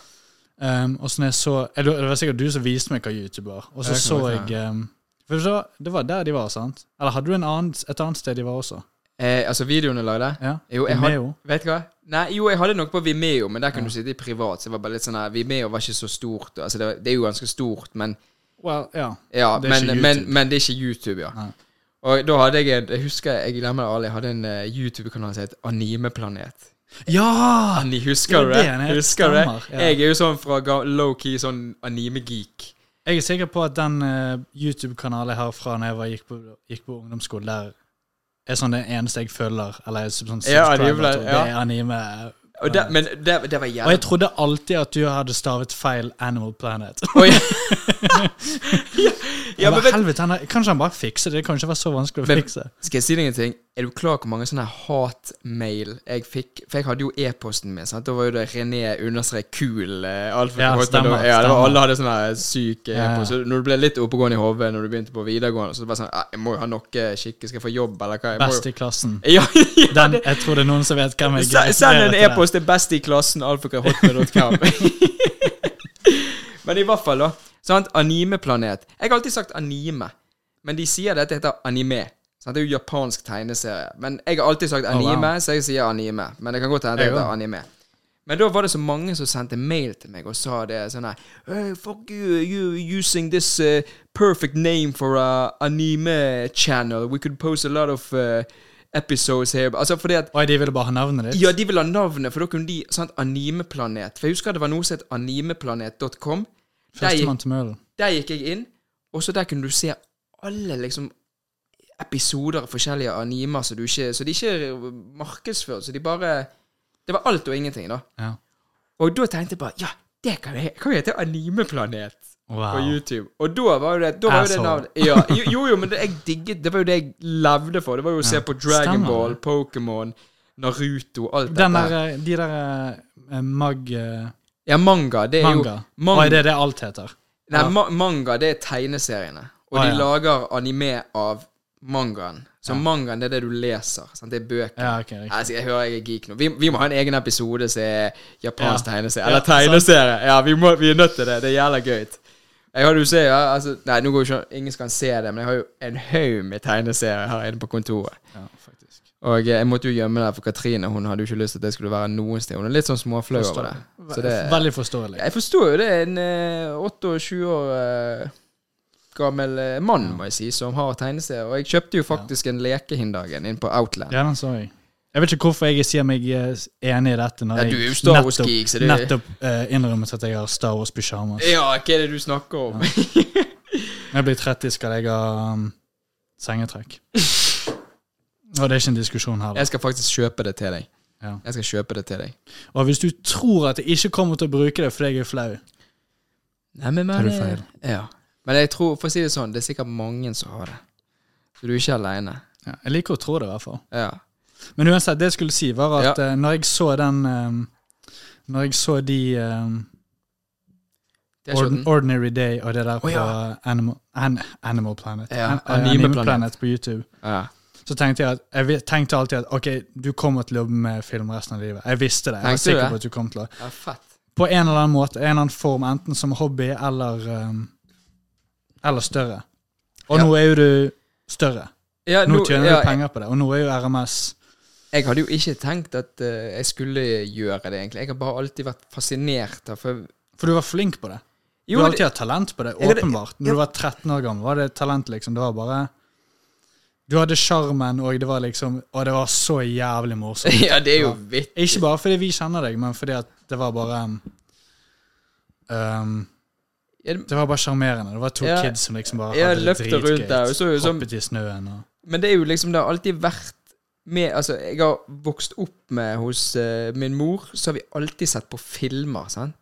Speaker 3: Um, og så når jeg så eh, Det var sikkert du som viste meg hva YouTube var. Og så
Speaker 2: Det kan
Speaker 3: så
Speaker 2: godt
Speaker 3: jeg um, For det var, det var der de var, sant? Eller hadde du en annen, et annet sted de var også?
Speaker 2: Eh, altså, videoene lagde?
Speaker 3: Ja.
Speaker 2: Jo, jeg hadde
Speaker 3: Vimeo?
Speaker 2: Vet du hva? Nei, jo, jeg hadde noe på Vimeo, men der kunne
Speaker 3: Ja.
Speaker 2: du sitte i privat. Så det var bare litt sånn her Vimeo var ikke så stort. Altså, det, var- det er jo ganske stort, men
Speaker 3: Well, ja.
Speaker 2: Ja,
Speaker 3: Det er
Speaker 2: men,
Speaker 3: ikke
Speaker 2: men,
Speaker 3: YouTube.
Speaker 2: men det er ikke YouTube, ja.
Speaker 3: Nei.
Speaker 2: Og da hadde jeg en Jeg husker jeg glemmer det aldri. Jeg hadde en eh, YouTube-kanal som het Animeplanet.
Speaker 3: Ja!
Speaker 2: Ani,
Speaker 3: Ja,
Speaker 2: husker du
Speaker 3: det
Speaker 2: det?
Speaker 3: er det.
Speaker 2: Husker du det?
Speaker 3: Stemmer, ja.
Speaker 2: Jeg er jo sånn fra ga- low-key sånn anime-geek.
Speaker 3: Jeg er sikker på at den eh, YouTube-kanalen jeg har fra når jeg var, gikk, på, gikk på ungdomsskolen, der er sånn den eneste jeg følger, eller er sånn
Speaker 2: Ja, anime,
Speaker 3: subscriber til,
Speaker 2: ja.
Speaker 3: Det er anime.
Speaker 2: Og det, men det, det var
Speaker 3: Og jeg
Speaker 2: jævlig
Speaker 3: trodde alltid at du hadde stavet feil Animal Planet.
Speaker 2: Oi. ja,
Speaker 3: Jeg
Speaker 2: men
Speaker 3: bare,
Speaker 2: vet,
Speaker 3: helvete, han er, Kanskje han bare fikser det? Det kan ikke være så vanskelig å
Speaker 2: Men-
Speaker 3: fikse.
Speaker 2: Skal jeg si deg en ting? Er du klar over hvor mange sånne hatmail jeg fikk? For jeg hadde jo e-posten min. sant? Da var jo det René understrek kul. eh, alt for
Speaker 3: Ja,
Speaker 2: hotmail. Ja,
Speaker 3: stemmer,
Speaker 2: det
Speaker 3: stemmer.
Speaker 2: var, alle hadde sånn her syk
Speaker 3: Ja, ja.
Speaker 2: e-post. Så Når du ble litt oppegående i hodet når du begynte på videregående, så var det bare sånn "Ah, Jeg må jo ha noe skikkelig. Skal jeg få jobb, eller hva? Jeg må
Speaker 3: Best
Speaker 2: jo-
Speaker 3: i klassen.
Speaker 2: Ja, ja,
Speaker 3: Den,
Speaker 2: det-
Speaker 3: jeg tror det er noen som vet hvem jeg
Speaker 2: Se- Send en
Speaker 3: refererer til der.
Speaker 2: e-post til best i klassen, alfakrøllhotmail.com. Men i hvert fall, da. Sant? Animeplanet. Jeg har alltid sagt anime, men de sier dette heter anime. Sant? Det er jo japansk tegneserie. Men jeg har alltid sagt
Speaker 3: wow.
Speaker 2: anime, så jeg sier anime. Men det kan godt hende det
Speaker 3: Jeg
Speaker 2: heter
Speaker 3: også.
Speaker 2: anime. Men da var det så mange som sendte mail til meg og sa det sånn her hey, Fuck you, you using this uh, perfect name for a anime channel. We could post a lot of uh, episodes here. Altså fordi at
Speaker 3: Oi, de ville bare ha navnet ditt?
Speaker 2: ja, de ville ha navnet, for da kunne de sant, Animeplanet. For jeg husker det var noe som het animeplanet.com. Der, gikk-
Speaker 3: Førstemann til møllen.
Speaker 2: der gikk jeg inn, og så der kunne du se alle liksom episoder av forskjellige animer så, du ikke, så de ikke er markedsført, så de bare Det var alt og ingenting, da.
Speaker 3: Ja.
Speaker 2: Og da tenkte jeg bare Ja, det kan jeg, kan jo hete Animeplanet på
Speaker 3: Wow.
Speaker 2: YouTube. Og da var jo det da var jo det
Speaker 3: Asshole.
Speaker 2: navnet ja, jo, jo, jo, men det, jeg digget Det var jo det jeg levde for. Det var jo å se på Dragon
Speaker 3: Stemmer
Speaker 2: Ball,
Speaker 3: det.
Speaker 2: Pokémon, Naruto, alt dette.
Speaker 3: Den
Speaker 2: her.
Speaker 3: der, eh, de der eh, mag... eh,
Speaker 2: Ja, manga, det er
Speaker 3: Manga.
Speaker 2: jo manga,
Speaker 3: Oi, det er det alt heter.
Speaker 2: Nei,
Speaker 3: ja.
Speaker 2: ma manga, det er tegneseriene. Og
Speaker 3: Ah,
Speaker 2: de
Speaker 3: ja.
Speaker 2: lager anime av mangaen. Så mangaen, det er det du leser. Sant? Det er bøker.
Speaker 3: Ja, ok, riktig.
Speaker 2: Altså, jeg hører jeg er geek nå. Vi, vi må ha en egen episode som er japansk
Speaker 3: Ja.
Speaker 2: tegneserie.
Speaker 3: Ja,
Speaker 2: Eller tegneserie! Ja, vi, må, vi er nødt til det. Det er jævla gøy. Jeg har du ser, ja, altså, nei, nå går jo ikke Ingen skal se det, men jeg har jo en haug med tegneserier her inne på kontoret.
Speaker 3: Ja, faktisk.
Speaker 2: Og eh, jeg måtte jo gjemme det for Katrine. Hun hadde jo ikke lyst til at det skulle være noen sted. Hun er litt sånn småflau over det. Så det-
Speaker 3: Veldig forståelig.
Speaker 2: Jeg forstår jo det. er En eh, 28 år eh, gammel eh, mann, må jeg si, som har tegneserier. Og jeg kjøpte jo faktisk en lekehindagen inn på Outland.
Speaker 3: Ja, den så jeg. Jeg vet ikke hvorfor jeg sier meg eh, enig i dette, når
Speaker 2: Ja, du er jo
Speaker 3: jeg
Speaker 2: Star
Speaker 3: nettopp,
Speaker 2: Wars-geek, så du-
Speaker 3: nettopp eh, innrømmet at jeg har Star Wars-pysjamas.
Speaker 2: Ja, hva er det du snakker om?
Speaker 3: Når jeg blir 30, skal jeg ha um, sengetrekk. Og det er ikke en diskusjon her.
Speaker 2: Jeg skal faktisk kjøpe det til deg.
Speaker 3: Ja.
Speaker 2: Jeg skal kjøpe det til deg.
Speaker 3: da. Og hvis du tror at jeg ikke kommer til å bruke det fordi jeg er flau
Speaker 2: Nei, men,
Speaker 3: Tar du feil?
Speaker 2: Ja. Men jeg tror, for å si det sånn, det er sikkert mange som har det. Så du er ikke aleine.
Speaker 3: ja, Jeg liker å tro det, i hvert fall.
Speaker 2: Ja.
Speaker 3: Men uansett, det jeg skulle si, var at eh, når jeg så den eh, Når jeg så de eh,
Speaker 2: Det er
Speaker 3: Ordin
Speaker 2: skjøtten.
Speaker 3: Ordinary Day og det der på
Speaker 2: ja.
Speaker 3: Animal, an, Animal Planet.
Speaker 2: Ja,
Speaker 3: An-
Speaker 2: Anime
Speaker 3: Anime
Speaker 2: Planet.
Speaker 3: Planet på YouTube.
Speaker 2: Ja.
Speaker 3: Så tenkte jeg at Jeg vi- tenkte alltid at ok, du kommer til å jobbe med film resten av livet. Jeg visste det. jeg var
Speaker 2: Tenkte du
Speaker 3: sikker
Speaker 2: det?
Speaker 3: På at du kom til å
Speaker 2: ja, fett.
Speaker 3: På en eller annen måte, en eller annen form, enten som hobby eller um, Eller større. Og
Speaker 2: Ja.
Speaker 3: nå er jo du større.
Speaker 2: Ja,
Speaker 3: Nå tjener
Speaker 2: ja,
Speaker 3: du penger på det, og nå er jo RMS
Speaker 2: Jeg hadde jo ikke tenkt at eh, jeg skulle gjøre det, egentlig. Jeg har bare alltid vært fascinert av for
Speaker 3: For du var flink på det. Du
Speaker 2: Jo,
Speaker 3: har
Speaker 2: det-
Speaker 3: alltid hatt talent på det,
Speaker 2: Ja, det-
Speaker 3: åpenbart. Når du var 13 år gammel, var det talent, liksom. Det var bare Du hadde sjarmen, og det var liksom Og det var så jævlig morsomt.
Speaker 2: Ja, det er jo vittig.
Speaker 3: Ikke bare fordi vi kjenner deg, men fordi at det var bare um, um,
Speaker 2: Ja, det-
Speaker 3: Det var bare sjarmerende. Det var to
Speaker 2: Ja.
Speaker 3: kids som liksom bare
Speaker 2: Ja,
Speaker 3: hadde det
Speaker 2: løpte rundt der, og så jo som-
Speaker 3: Hoppet i snøen og
Speaker 2: Men det er jo liksom Det har alltid vært med Altså, jeg har vokst opp med hos eh, min mor, så har vi alltid sett på filmer, sant.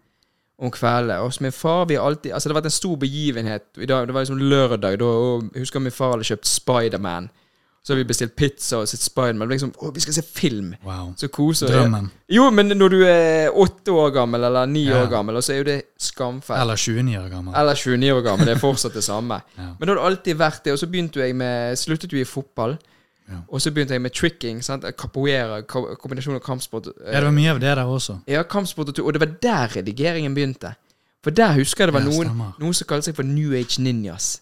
Speaker 2: Om kvelden. Og hos min far vi har alltid Altså, det har vært en stor begivenhet. I dag, det var liksom lørdag, da, og jeg husker min far hadde kjøpt Spiderman. Så har vi bestilt pizza og sett Spiderman. Det var Liksom, å, vi skal se film!
Speaker 3: Wow.
Speaker 2: Så koser vi
Speaker 3: Drømmen.
Speaker 2: Jo, men når du er åtte år gammel, eller ni
Speaker 3: Ja.
Speaker 2: år gammel, og så er jo det skamfett.
Speaker 3: Eller 29 år gammel.
Speaker 2: Eller 29 år gammel. Det er fortsatt det samme.
Speaker 3: Ja.
Speaker 2: Men da har det alltid vært det. Og så begynte jo jeg med sluttet jo i fotball.
Speaker 3: Ja.
Speaker 2: Og så begynte jeg med tricking. Sant? Capoeira, ka- kombinasjon av kampsport. eh,
Speaker 3: Ja, det var mye av det der også.
Speaker 2: ja, kampsport og tur. Og det var der redigeringen begynte. For der husker jeg det var
Speaker 3: Ja,
Speaker 2: noen,
Speaker 3: stemmer.
Speaker 2: noen som kalte seg for New Age Ninjas.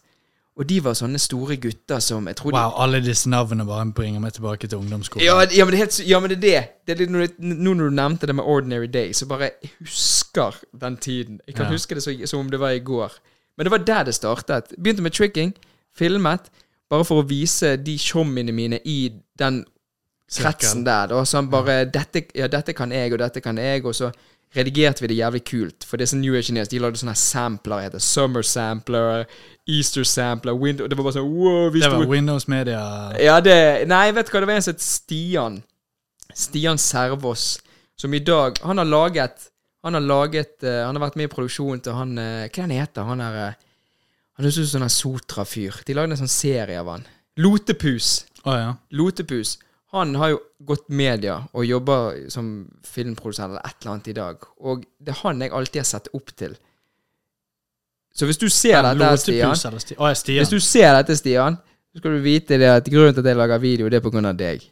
Speaker 2: Og de var sånne store gutter som jeg trodde
Speaker 3: Wow, alle disse navnene bare bringer meg tilbake til ungdomsskolen.
Speaker 2: Ja, ja, men det er helt, sy- ja, men det er det. det er litt, når du- nå når du nevnte det med Ordinary Day, så bare jeg husker den tiden. Jeg kan
Speaker 3: Ja.
Speaker 2: huske det så- som om det var i går. Men det var der det startet. Begynte med tricking, filmet, bare for å vise de tjommiene mine i den
Speaker 3: Cirkel.
Speaker 2: kretsen der. Da, sånn bare dette, ja, dette kan jeg, og dette kan jeg, og så redigerte vi det jævlig kult. For disse New Engineers, de lagde sånne sampler, heter det. Summer Sampler, Easter Sampler, Winter Det var bare sånn wow, vi
Speaker 3: Det
Speaker 2: sto
Speaker 3: var Windows Media
Speaker 2: ja, det Nei, vet du hva, det var en som het Stian. Stian Servås, som i dag Han har laget Han har laget eh, Han har vært med i produksjonen til han eh, Hva er han heter han er eh, Han høres ut som en sånn Sotra-fyr. De lagde en sånn serie av han. Lotepus.
Speaker 3: Å ja.
Speaker 2: Lotepus. Han har jo gått media og jobber som filmprodusent eller et eller annet i dag. Og det er han jeg alltid har sett opp til. Så hvis du ser dette, Stian
Speaker 3: Lotepus eller Stian? Å ja, Stian.
Speaker 2: hvis du ser dette, Stian, så skal du vite det at grunnen til at jeg lager video, det er på grunn av deg.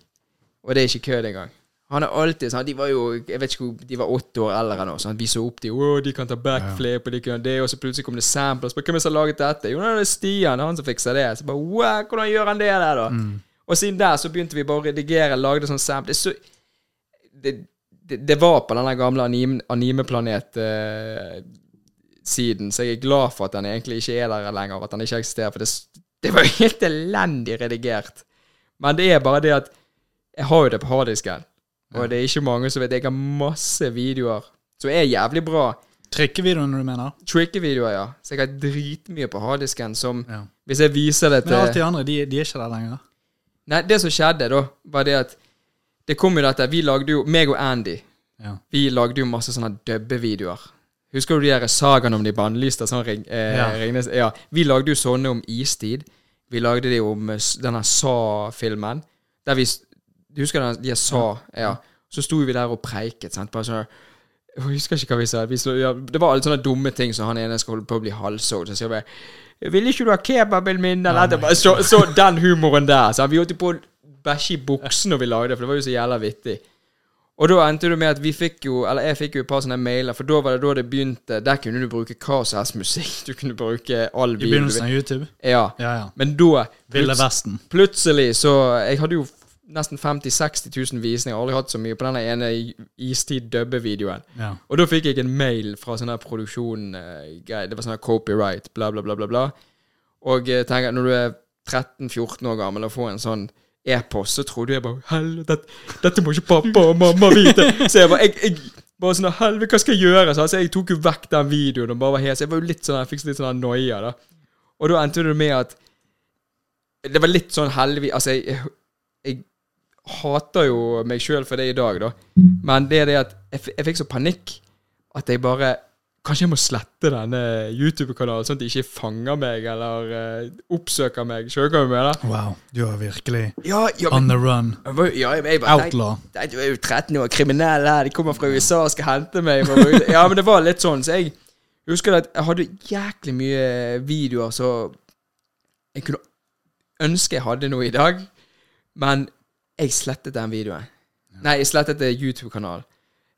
Speaker 2: Og det er ikke kødd engang. Han er alltid sånn, De var jo jeg vet ikke hvor, de var åtte år eldre enn oss. sånn, Vi så opp til Å, de kan ta backflip, og de kan det, og så plutselig kom det samples. Bare, Hvem er det som har laget dette? Jo, det er Stian, han som fikser det. Så bare, wow, Hvordan gjør han det der, da? Og siden der så begynte vi bare å redigere, lagde sånn sample. Det, er så, det, det, det var på den der gamle anime, animeplanet... eh, siden, så jeg er glad for at den egentlig ikke er der lenger, at den ikke eksisterer, for det, s- det var jo helt elendig redigert. Men det er bare det at jeg har jo det på harddisken, og det er ikke mange som vet Jeg har masse videoer som er jævlig bra.
Speaker 3: Trikkevideoen du mener?
Speaker 2: Tricky-videoer, ja. Så jeg har dritmye på harddisken som
Speaker 3: Ja.
Speaker 2: Hvis jeg viser det
Speaker 3: Men alt
Speaker 2: til
Speaker 3: de andre, de, de er ikke der lenger?
Speaker 2: Nei, det som skjedde, da, var det at det kom jo dette Vi lagde jo Meg og Andy.
Speaker 3: Ja.
Speaker 2: Vi lagde jo masse sånne dubbevideoer. Husker du de der sagaene om de bannlyste? Sånn, ring, eh,
Speaker 3: Ja.
Speaker 2: Ringnes- ja. Vi lagde jo sånne om istid. Vi lagde de om eh, s- denne Sa-filmen. Der vi s- Du husker den, de Sa? Ja. Så sto vi der og preiket. Sant? Bare sånn jeg husker ikke hva vi sa. Vi så, ja, det var alle sånne dumme ting som han ene skal holde på å bli halshogd. Så sier vi 'Ville ikke du ha kebaben min?' Eller det var- så, så den humoren der. Så vi holdt jo på å bæsje i buksen når vi lagde det, for det var jo så jævla vittig. Og da endte det med at vi fikk jo, eller jeg fikk jo et par sånne mailer, for da var det da det begynte. Der kunne du bruke hva som helst musikk. Du kunne bruke all
Speaker 3: I
Speaker 2: video.
Speaker 3: begynnelsen av YouTube?
Speaker 2: Ja.
Speaker 3: Ja, ja.
Speaker 2: Men da
Speaker 3: Ville Vesten.
Speaker 2: plutselig så Jeg hadde jo nesten 50 000-60 000 visninger. Jeg har aldri hatt så mye på denne ene Istid-dubbe-videoen.
Speaker 3: Ja.
Speaker 2: Og da fikk jeg en mail fra sånn her produksjon eh, grei- Det var sånn her copyright, bla, bla, bla, bla, bla. Og jeg tenker, når du er 13-14 år gammel og får en sånn e-post, så tror du jeg bare Helvete, dette må ikke pappa og mamma vite! Så jeg bare jeg, jeg, bare sånn, Helvete, hva skal jeg gjøre? Så altså, jeg tok jo vekk den videoen og bare var hes. Jeg var jo litt sånn, jeg fikk litt sånn her noia, da. Og da endte det med at Det var litt sånn helvete Altså, jeg, jeg, jeg hater jo meg sjøl for det i dag, da. Men det er det at jeg, f- jeg fikk så panikk at jeg bare Kanskje jeg må slette denne YouTube-kanalen, sånn at de ikke fanger meg eller eh, oppsøker meg. Skjønner du hva jeg mener?
Speaker 3: Wow, du er virkelig
Speaker 2: Ja, ja,
Speaker 3: on the run.
Speaker 2: jeg var jo- ja, jeg, jeg bare,
Speaker 3: Outlaw.
Speaker 2: Nei, du er jo 13 år, kriminell her, de kommer fra USA og skal hente meg. for å- Ja, men det var litt sånn, så jeg husker at jeg hadde jæklig mye videoer, så jeg kunne ønske jeg hadde noe i dag, men jeg slettet den videoen. Nei, jeg slettet det YouTube-kanalen.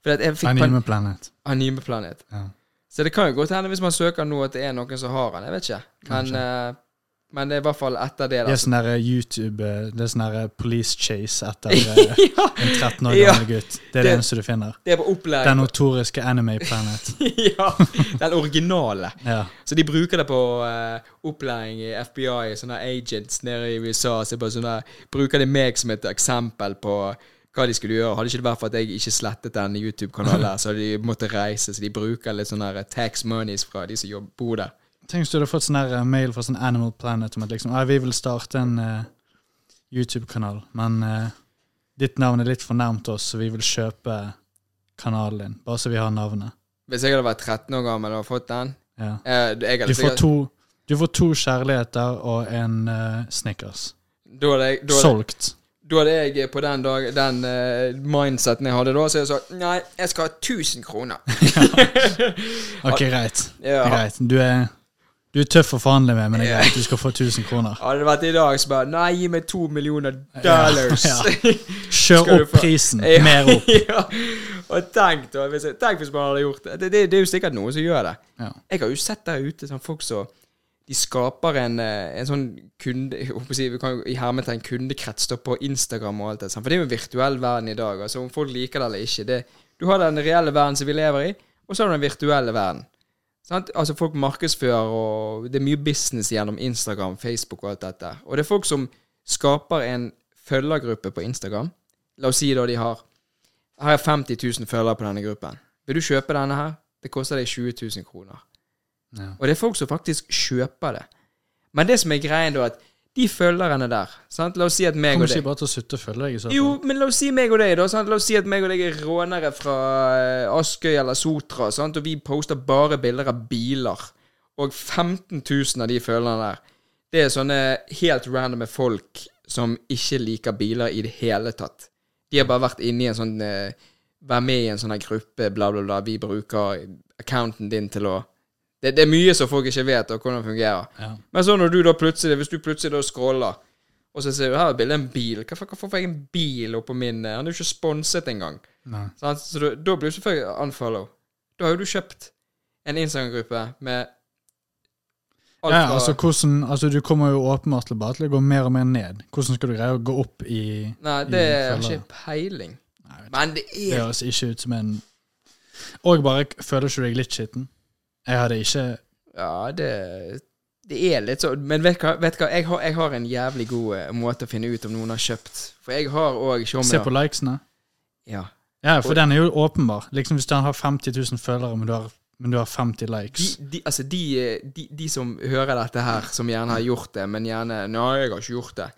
Speaker 2: For at jeg fikk pan-
Speaker 3: Anime Planet.
Speaker 2: Animeplanet.
Speaker 3: Ja.
Speaker 2: Så det kan jo godt hende hvis man søker nå at det er noen som har den, jeg vet ikke. Men, eh, men det er i hvert fall etter det,
Speaker 3: Det
Speaker 2: da.
Speaker 3: er sånn derre YouTube eh, Det er sånn derre police chase etter eh,
Speaker 2: ja,
Speaker 3: en 13 år
Speaker 2: Ja.
Speaker 3: gammel gutt. Det er det
Speaker 2: Det-
Speaker 3: eneste du finner.
Speaker 2: det er på
Speaker 3: Den
Speaker 2: opplæring.
Speaker 3: notoriske Anime Planet.
Speaker 2: ja, den originale.
Speaker 3: Ja.
Speaker 2: Så de bruker det på eh, opplæring i FBI, sånne agents nede i USA. Så det er bare sånne, bruker de meg som et eksempel på hva de skulle gjøre. Hadde ikke det vært for at jeg ikke slettet den YouTube-kanalen, her, så hadde de måtte reise. Så de bruker litt sånne her tax monies fra de som jobb- bor der.
Speaker 3: Tenk hvis du hadde fått sånn her eh, mail fra sånn Animal Planet om at liksom, «Nei, vi vil starte en eh, YouTube-kanal, men eh, ditt navn er litt for nærmt oss, så vi vil kjøpe kanalen din, bare så vi har navnet.
Speaker 2: Hvis jeg hadde vært 13 år gammel og fått den
Speaker 3: Ja.
Speaker 2: eh, jeg
Speaker 3: Du
Speaker 2: hadde
Speaker 3: får
Speaker 2: sikkert,
Speaker 3: to, du får to kjærligheter og en eh, Snickers.
Speaker 2: da hadde jeg, da hadde,
Speaker 3: Solgt.
Speaker 2: da hadde jeg på den, dag, den eh, mindseten jeg hadde da, så hadde jeg sagt nei, jeg skal ha 1000 kroner.
Speaker 3: Ok, greit.
Speaker 2: Ah. Ja.
Speaker 3: greit. Du, er, du er tøff å forhandle med, men det er greit. Du skal få 1000 kroner.
Speaker 2: Hadde det vært i dag, så bare Nei, gi meg to millioner dollars.
Speaker 3: Ja,
Speaker 2: Skal
Speaker 3: Kjør
Speaker 2: du
Speaker 3: opp
Speaker 2: få-
Speaker 3: prisen.
Speaker 2: Ja.
Speaker 3: Mer opp.
Speaker 2: ja. Og tenk, da, hvis, tenk hvis man hadde gjort det. Det, det. det er jo sikkert noen som gjør det.
Speaker 3: Ja.
Speaker 2: Jeg har jo sett der ute sånn folk som De skaper en, eh, en sånn kunde... Jeg holdt på å si, vi kan jo i hermetegn kundekrets da på Instagram og alt det. sånn, For det er jo en virtuell verden i dag. altså Om folk liker det eller ikke det, Du har den reelle verden som vi lever i, og så har du den virtuelle verden. Sant? Altså Folk markedsfører, og det er mye business gjennom Instagram, Facebook og alt dette. Og det er folk som skaper en følgergruppe på Instagram. La oss si da de har Her er 50 000 følgere på denne gruppen. Vil du kjøpe denne her? Det koster deg 20 000 kroner.
Speaker 3: Ja.
Speaker 2: Og det er folk som faktisk kjøper det. Men det som er greien, da, at de følgerne der sant? La oss si at meg
Speaker 3: Kommer
Speaker 2: og
Speaker 3: ikke
Speaker 2: deg
Speaker 3: bare til å slutte å følge deg i så fall.
Speaker 2: Jo, men la oss si meg og deg, da. Sant? La oss si at meg og deg er rånere fra eh, Askøy eller Sotra, sant? og vi poster bare bilder av biler. Og 15 000 av de følgerne der, det er sånne helt randome folk som ikke liker biler i det hele tatt. De har bare vært inne i en sånn eh, Vær med i en sånn her gruppe, bla, bla, bla. Vi bruker accounten din til å det, det er mye som folk ikke vet, og hvordan det fungerer.
Speaker 3: Ja.
Speaker 2: Men så når du da plutselig, hvis du plutselig da scroller, og så ser du her er bildet av en bil Hva faen får jeg en bil oppå min eh, Han er jo ikke sponset engang.
Speaker 3: Nei.
Speaker 2: Sant? Så da, da blir du selvfølgelig unfollow. Da har jo du kjøpt en Instagram-gruppe med alt
Speaker 3: Ja,
Speaker 2: fra
Speaker 3: altså, hvordan, altså Du kommer jo åpenbart til bare til å gå mer og mer ned. Hvordan skal du greie å gå opp i
Speaker 2: Nei, det
Speaker 3: i
Speaker 2: har
Speaker 3: følgere.
Speaker 2: ikke peiling.
Speaker 3: Nei, vet du,
Speaker 2: Men det
Speaker 3: Det
Speaker 2: er
Speaker 3: høres ikke ut som en Og bare k- føler ikke du deg litt skitten? Jeg hadde ikke
Speaker 2: Ja, det det er litt sånn, men vet du hva, vet du hva? Jeg, har, jeg har en jævlig god eh, måte å finne ut om noen har kjøpt. For jeg har òg
Speaker 3: Se
Speaker 2: Tjommi.
Speaker 3: på likesene.
Speaker 2: Ja.
Speaker 3: Ja, for den er jo åpenbar. Liksom Hvis den har 50 000 følgere, men du har, men du har 50 likes
Speaker 2: De, de, altså de, eh, de, de som hører dette her, som gjerne har gjort det, men gjerne Nei, jeg har ikke gjort det.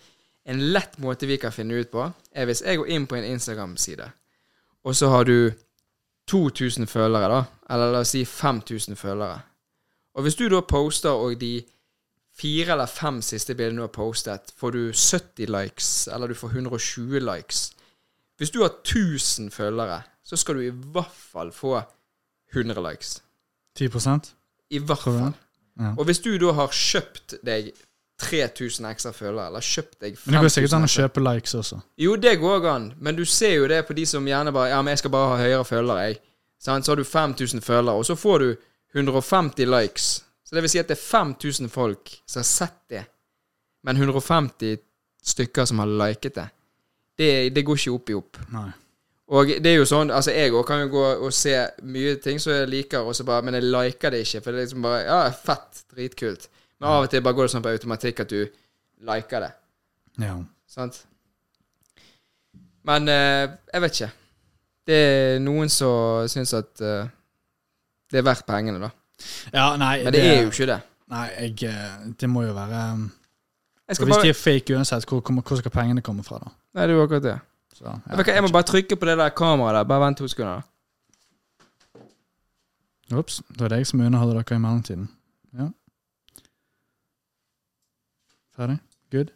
Speaker 2: En lett måte vi kan finne ut på, er hvis jeg går inn på en Instagram-side, og så har du 2000 følgere, da, eller la oss si 5000 følgere. Og hvis du da poster, og de fire eller fem siste bildene du har postet, får du 70 likes, eller du får 120 likes. Hvis du har 1000 følgere, så skal du i hvert fall få 100 likes.
Speaker 3: 10
Speaker 2: I hvert
Speaker 3: Tror du
Speaker 2: fall.
Speaker 3: det? Ja.
Speaker 2: Og hvis du da har kjøpt deg 3000 ekstra følgere, eller kjøpt deg 5000
Speaker 3: Men det går sikkert an å
Speaker 2: ekstra-
Speaker 3: kjøpe likes også.
Speaker 2: Jo, det går an, men du ser jo det på de som gjerne bare Ja, men jeg skal bare ha høyere følgere, jeg. Sant? Så har du 5000 følgere, og så får du 150 likes. Så det vil si at det er 5000 folk som har sett det, men 150 stykker som har liket det. Det, det går ikke opp i opp.
Speaker 3: Nei.
Speaker 2: Og det er jo sånn, altså jeg også kan jo gå og se mye ting som jeg liker, og så bare, men jeg liker det ikke. For det er liksom bare Ja, fett. Dritkult. Men av og til bare går det sånn på automatikk at du liker det.
Speaker 3: Ja.
Speaker 2: Sant? Men eh, jeg vet ikke. Det er noen som syns at eh, det er verdt pengene, da.
Speaker 3: ja, nei,
Speaker 2: Men det er jo ikke det.
Speaker 3: Nei, jeg, eh, det må jo være um,
Speaker 2: Jeg
Speaker 3: for
Speaker 2: skal
Speaker 3: Hvis
Speaker 2: bare
Speaker 3: de er fake uansett, hvor, kommer- hvor skal pengene komme fra, da?
Speaker 2: Nei, det er jo akkurat det.
Speaker 3: Så, ja.
Speaker 2: Vet du hva, Jeg må bare trykke på det der kameraet der. Bare vent to sekunder. da.
Speaker 3: Ops, da er det jeg som underholder dere i mellomtiden. Ja. Ferdig? Good?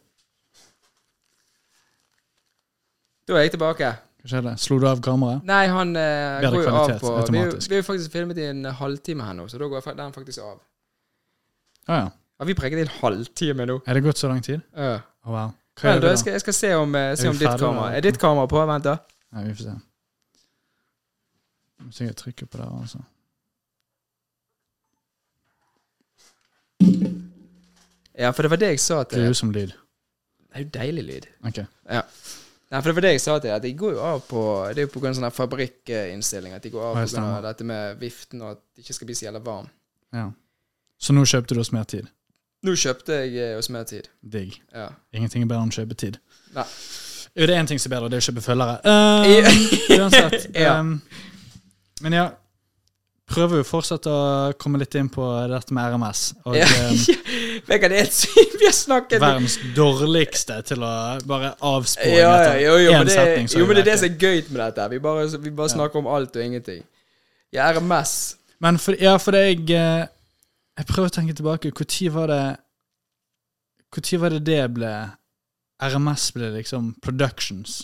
Speaker 2: Da er jeg tilbake.
Speaker 3: Hva skjedde? Slo du av kameraet?
Speaker 2: Nei, han eh,
Speaker 3: Bedre
Speaker 2: går jo av
Speaker 3: kvalitet,
Speaker 2: på vi, er jo-
Speaker 3: automatisk.
Speaker 2: vi er jo faktisk filmet i en eh, halvtime her nå, så da går fa- den faktisk av.
Speaker 3: Å ja.
Speaker 2: Har vi preget i en halvtime nå?
Speaker 3: Er det gått så lang tid?
Speaker 2: Ja.
Speaker 3: Å wow. Hva
Speaker 2: Vel,
Speaker 3: gjør
Speaker 2: da,
Speaker 3: vi
Speaker 2: jeg,
Speaker 3: da?
Speaker 2: skal, jeg skal se om, eh, se
Speaker 3: vi
Speaker 2: om ditt
Speaker 3: ferdig,
Speaker 2: kamera
Speaker 3: da?
Speaker 2: Er ditt kamera på? Vent, da.
Speaker 3: Nei, vi får se. Må sikkert trykke på der, altså.
Speaker 2: Ja, for det var det jeg sa til
Speaker 3: Grusom lyd.
Speaker 2: Det er jo deilig lyd.
Speaker 3: Ok.
Speaker 2: Nei, for det var det jeg sa til deg, at de går jo av på Det er jo på grunn av sånne fabrikkinnstilling at de går av
Speaker 3: Ja,
Speaker 2: på grunn
Speaker 3: stemmer.
Speaker 2: av dette med viften og at det ikke skal bli så jævla varm.
Speaker 3: Ja. Så nå kjøpte du oss mer tid.
Speaker 2: Nå kjøpte jeg eh, oss mer tid.
Speaker 3: Digg.
Speaker 2: Ja.
Speaker 3: Ingenting er bedre enn å kjøpe tid.
Speaker 2: Nei.
Speaker 3: Jo, det er én ting som er bedre, det er å kjøpe følgere. Eh, uansett.
Speaker 2: Ja.
Speaker 3: em, men ja, prøver jo fortsatt å komme litt inn på dette med RMS. Og eh,
Speaker 2: Ja.
Speaker 3: em,
Speaker 2: Vegard, det er helt sykt! Vi har snakket
Speaker 3: verdens dårligste til å bare avspå
Speaker 2: ja, ja, jo, jo, men det,
Speaker 3: setning. så
Speaker 2: jo, men det er det
Speaker 3: greit.
Speaker 2: som er gøy med dette. her. Vi bare, vi bare snakker om alt og ingenting. Jeg er RMS.
Speaker 3: Men for, ja, for det jeg eh, Jeg prøver å tenke tilbake. Når var det Når var det det ble RMS ble liksom Productions?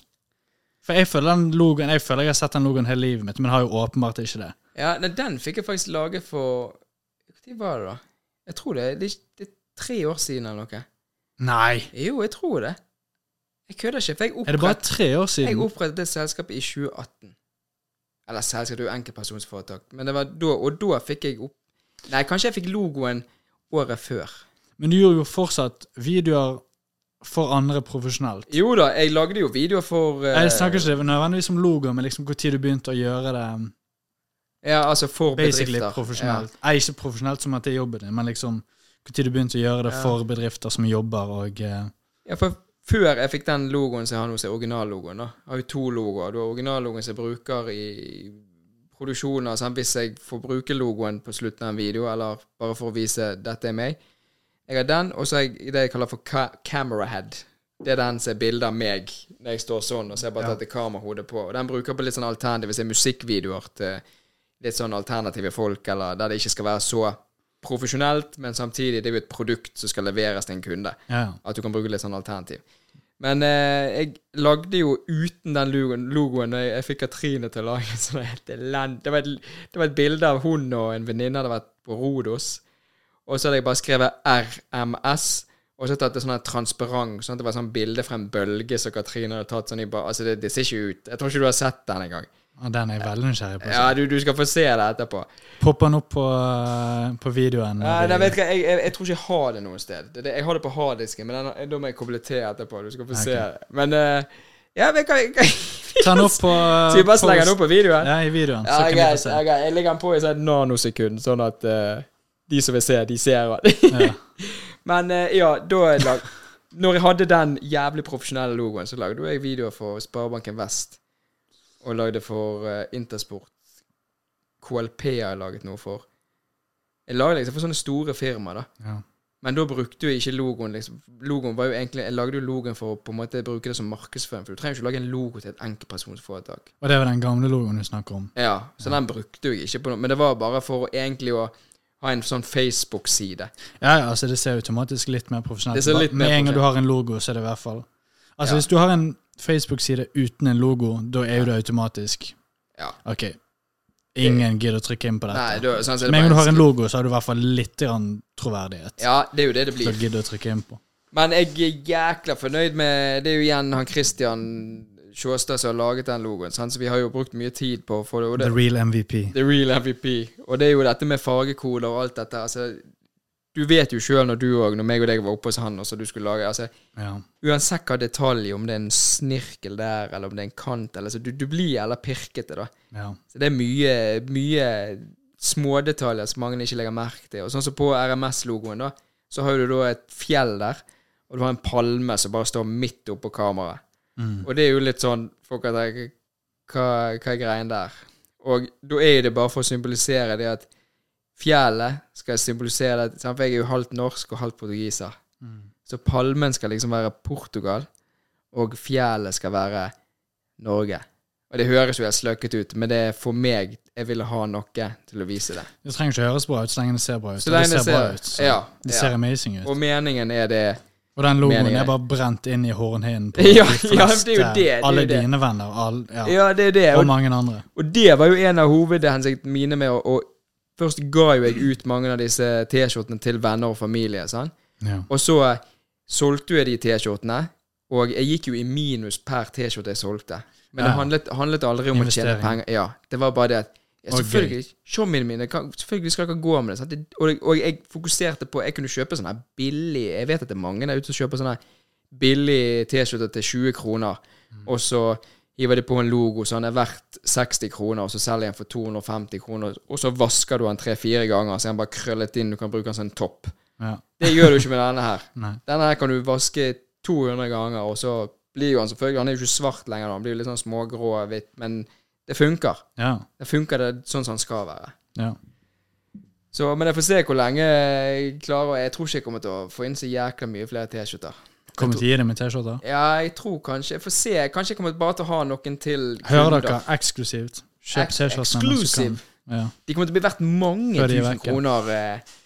Speaker 3: For jeg føler den logoen Jeg føler jeg har sett den logoen hele livet mitt, men har jo åpenbart ikke det.
Speaker 2: Ja, nei, den fikk jeg faktisk lage for Når var det, da? Jeg tror det, er- det, er ikke- det er tre år siden eller noe.
Speaker 3: Nei!
Speaker 2: Jo, jeg tror det. Jeg kødder ikke, for jeg
Speaker 3: Er det bare
Speaker 2: opprettet,
Speaker 3: tre år
Speaker 2: jeg
Speaker 3: siden?
Speaker 2: opprettet det selskapet i 2018. Eller selskap, det er jo enkeltpersonsforetak. Men det var da, og da fikk jeg opp Nei, kanskje jeg fikk logoen året før.
Speaker 3: Men du gjorde jo fortsatt videoer for andre profesjonelt.
Speaker 2: Jo da, jeg lagde jo videoer for eh,
Speaker 3: Jeg snakker ikke det nødvendigvis om logo, men liksom når du begynte å gjøre det um,
Speaker 2: Ja, altså for
Speaker 3: basically
Speaker 2: bedrifter.
Speaker 3: profesjonelt. Nei, ikke profesjonelt som at det er jobben din, men liksom når du begynte å gjøre det
Speaker 2: Ja.
Speaker 3: for bedrifter som jobber og eh,
Speaker 2: Ja, for før jeg fikk den logoen som jeg har nå, som er originallogoen, da. Jeg har jo to logoer. Du har originallogoen som jeg bruker i produksjoner, sant? hvis jeg får bruke logoen på slutten av en video, eller bare for å vise 'dette er meg'. Jeg har den, og så har jeg det jeg kaller for ca camera head. Det er den som er bilde av meg når jeg står sånn, og så har jeg bare tatt et kamerahodet på. Og den bruker jeg på litt sånn alternativ, hvis det er musikkvideoer til litt sånn alternative folk, eller der det ikke skal være så profesjonelt, men samtidig det er jo et produkt som skal leveres til en kunde.
Speaker 3: ja, ja.
Speaker 2: At du kan bruke litt sånn alternativ. Men eh, jeg lagde jo uten den logoen, logoen jeg, jeg fikk Katrine til å lage en sånn helt elend... Det var, et, det var et bilde av hun og en venninne hadde vært på Rodos. Og så hadde jeg bare skrevet RMS, og så tatt det sånn her transparent, sånn at det var sånn bilde fra en bølge som Katrine hadde tatt sånn i ba... Altså, det, det ser ikke ut. Jeg tror ikke du har sett den engang.
Speaker 3: Ja, Den er jeg veldig nysgjerrig på.
Speaker 2: Ja, du, du skal få se det etterpå.
Speaker 3: Popper den opp på, eh, på videoen? når
Speaker 2: Nei,
Speaker 3: vi-
Speaker 2: nei, vet du hva, jeg, jeg, jeg tror ikke jeg har det noe sted. Det, det, jeg har det på harddisken, men den, da må jeg koble til etterpå. Du skal få se det. Men eh, ja, vi kan, kan
Speaker 3: Ta den opp på
Speaker 2: Skal vi bare slenge den opp på videoen?
Speaker 3: Ja, i videoen.
Speaker 2: Ja,
Speaker 3: så kan vi
Speaker 2: greit.
Speaker 3: få
Speaker 2: ja,
Speaker 3: se.
Speaker 2: greit. Jeg legger den på i sånn et nanosekund, sånn at eh, de som vil se, de ser den.
Speaker 3: Ja.
Speaker 2: men eh, ja, da er jeg lag... Når jeg hadde den jævlig profesjonelle logoen, så lagde jo jeg videoer for Sparebanken Vest. Og lagde for eh, Intersport. KLP har jeg laget noe for. Jeg lager liksom for sånne store firmaer, da.
Speaker 3: Ja.
Speaker 2: Men da brukte jeg ikke logoen. liksom. Logoen var jo egentlig, Jeg lagde jo logoen for å på en måte bruke det som markedsføring. For du trenger jo ikke lage en logo til et enkeltpersonforetak.
Speaker 3: Og det var den gamle logoen du snakker om?
Speaker 2: Ja, så den brukte jeg ikke på noe. Men det var bare for å egentlig å ha en sånn Facebook-side.
Speaker 3: Ja, ja, altså det ser automatisk litt mer profesjonelt
Speaker 2: Det ser
Speaker 3: ut.
Speaker 2: litt
Speaker 3: Med
Speaker 2: mer
Speaker 3: en gang du har en logo, så er det i hvert fall Altså
Speaker 2: Ja.
Speaker 3: Hvis du har en Facebook-side uten en logo, da er jo det automatisk
Speaker 2: Ja.
Speaker 3: OK. Ingen gidder å trykke inn på
Speaker 2: Nei,
Speaker 3: dette.
Speaker 2: da, sånn så er det
Speaker 3: Med en gang du har en
Speaker 2: logo.
Speaker 3: logo, så har du i hvert fall litt grann troverdighet.
Speaker 2: Ja, det er jo det det
Speaker 3: Til å
Speaker 2: blir.
Speaker 3: gidde å trykke inn på.
Speaker 2: Men jeg er jækla fornøyd med Det er jo igjen han Christian Sjåstad som har laget den logoen. sant? Så vi har jo brukt mye tid på å få det. og det-
Speaker 3: The real MVP.
Speaker 2: The real MVP. Og det er jo dette med fargekoder og alt dette. Altså, Du vet jo sjøl når du òg, når meg og deg var oppe hos han, og så du skulle lage altså,
Speaker 3: Ja.
Speaker 2: Uansett hva detalj, om det er en snirkel der, eller om det er en kant, eller så du, du blir eller pirkete, da.
Speaker 3: ja.
Speaker 2: Så det er mye, mye smådetaljer som mange ikke legger merke til. Og sånn som på RMS-logoen, da, så har du da et fjell der, og du har en palme som bare står midt oppå kameraet.
Speaker 3: Mm.
Speaker 2: Og det er jo litt sånn Folk har tenkt hva, hva er greien der? Og da er jo det bare for å symbolisere det at fjellet skal symbolisere det. sant? For jeg er jo halvt norsk og halvt portugiser.
Speaker 3: Mm.
Speaker 2: Så palmen skal liksom være Portugal, og fjellet skal være Norge. Og det høres jo helt sløkket ut, men det er for meg Jeg ville ha noe til å vise det.
Speaker 3: Det trenger ikke høres bra ut så lenge det ser bra ut.
Speaker 2: Så
Speaker 3: og
Speaker 2: lenge
Speaker 3: det ser bra
Speaker 2: ser-
Speaker 3: ut. Så
Speaker 2: ja,
Speaker 3: det
Speaker 2: ja.
Speaker 3: ser amazing ut.
Speaker 2: Og meningen er det
Speaker 3: Og den logoen
Speaker 2: meningen er-
Speaker 3: er bare brent inn i hornhinnen på
Speaker 2: Ja,
Speaker 3: de
Speaker 2: ja, det er jo det, det er jo
Speaker 3: alle
Speaker 2: det.
Speaker 3: dine venner all, ja,
Speaker 2: Ja, det er det.
Speaker 3: og
Speaker 2: Og,
Speaker 3: mange andre.
Speaker 2: og det var jo en av hovedhensiktene mine med å og Først ga jo jeg ut mange av disse T-skjortene til venner og familie, sant?
Speaker 3: Ja.
Speaker 2: og så eh, solgte jeg de T-skjortene. Og jeg gikk jo i minus per T-skjorte jeg solgte. Men det
Speaker 3: Ja.
Speaker 2: handlet, handlet aldri om å tjene
Speaker 3: Investering.
Speaker 2: penger. Ja, det var bare det at ja,
Speaker 3: Og gøy.
Speaker 2: Selvfølgelig showmine mine kan, Selvfølgelig skal dere gå med det. Sant? Det- Og, og jeg fokuserte på Jeg kunne kjøpe sånne her billig Jeg vet at det er mange der ute som kjøper sånne her billig T-skjorter til 20 kroner,
Speaker 3: Mm.
Speaker 2: og så hiver de på en logo sånn er verdt 60 kroner, og så selger jeg den for 250 kroner, og så vasker du den tre-fire ganger, så er den bare krøllet inn, du kan bruke den som en topp.
Speaker 3: Ja.
Speaker 2: Det gjør du ikke med denne her.
Speaker 3: Nei.
Speaker 2: Denne her kan du vaske 200 ganger, og så blir jo han selvfølgelig Han er jo ikke svart lenger, da. han blir jo litt sånn smågrå og hvitt, men det funker.
Speaker 3: Ja.
Speaker 2: Det funker det sånn som han skal være.
Speaker 3: ja.
Speaker 2: Så, men jeg får se hvor lenge jeg klarer og Jeg tror ikke jeg kommer til å få inn så jækla mye flere T-skjorter.
Speaker 3: Kommer til å gi deg med T-skjorter.
Speaker 2: Ja, jeg tror kanskje Jeg får se. Kanskje jeg kommer bare til å ha noen til
Speaker 3: Hører dere eksklusivt? Kjøp
Speaker 2: Ex-
Speaker 3: T-skjertene.
Speaker 2: exclusive.
Speaker 3: Ja.
Speaker 2: De kommer til å bli verdt mange
Speaker 3: Før de er
Speaker 2: tusen
Speaker 3: vekke.
Speaker 2: kroner eh,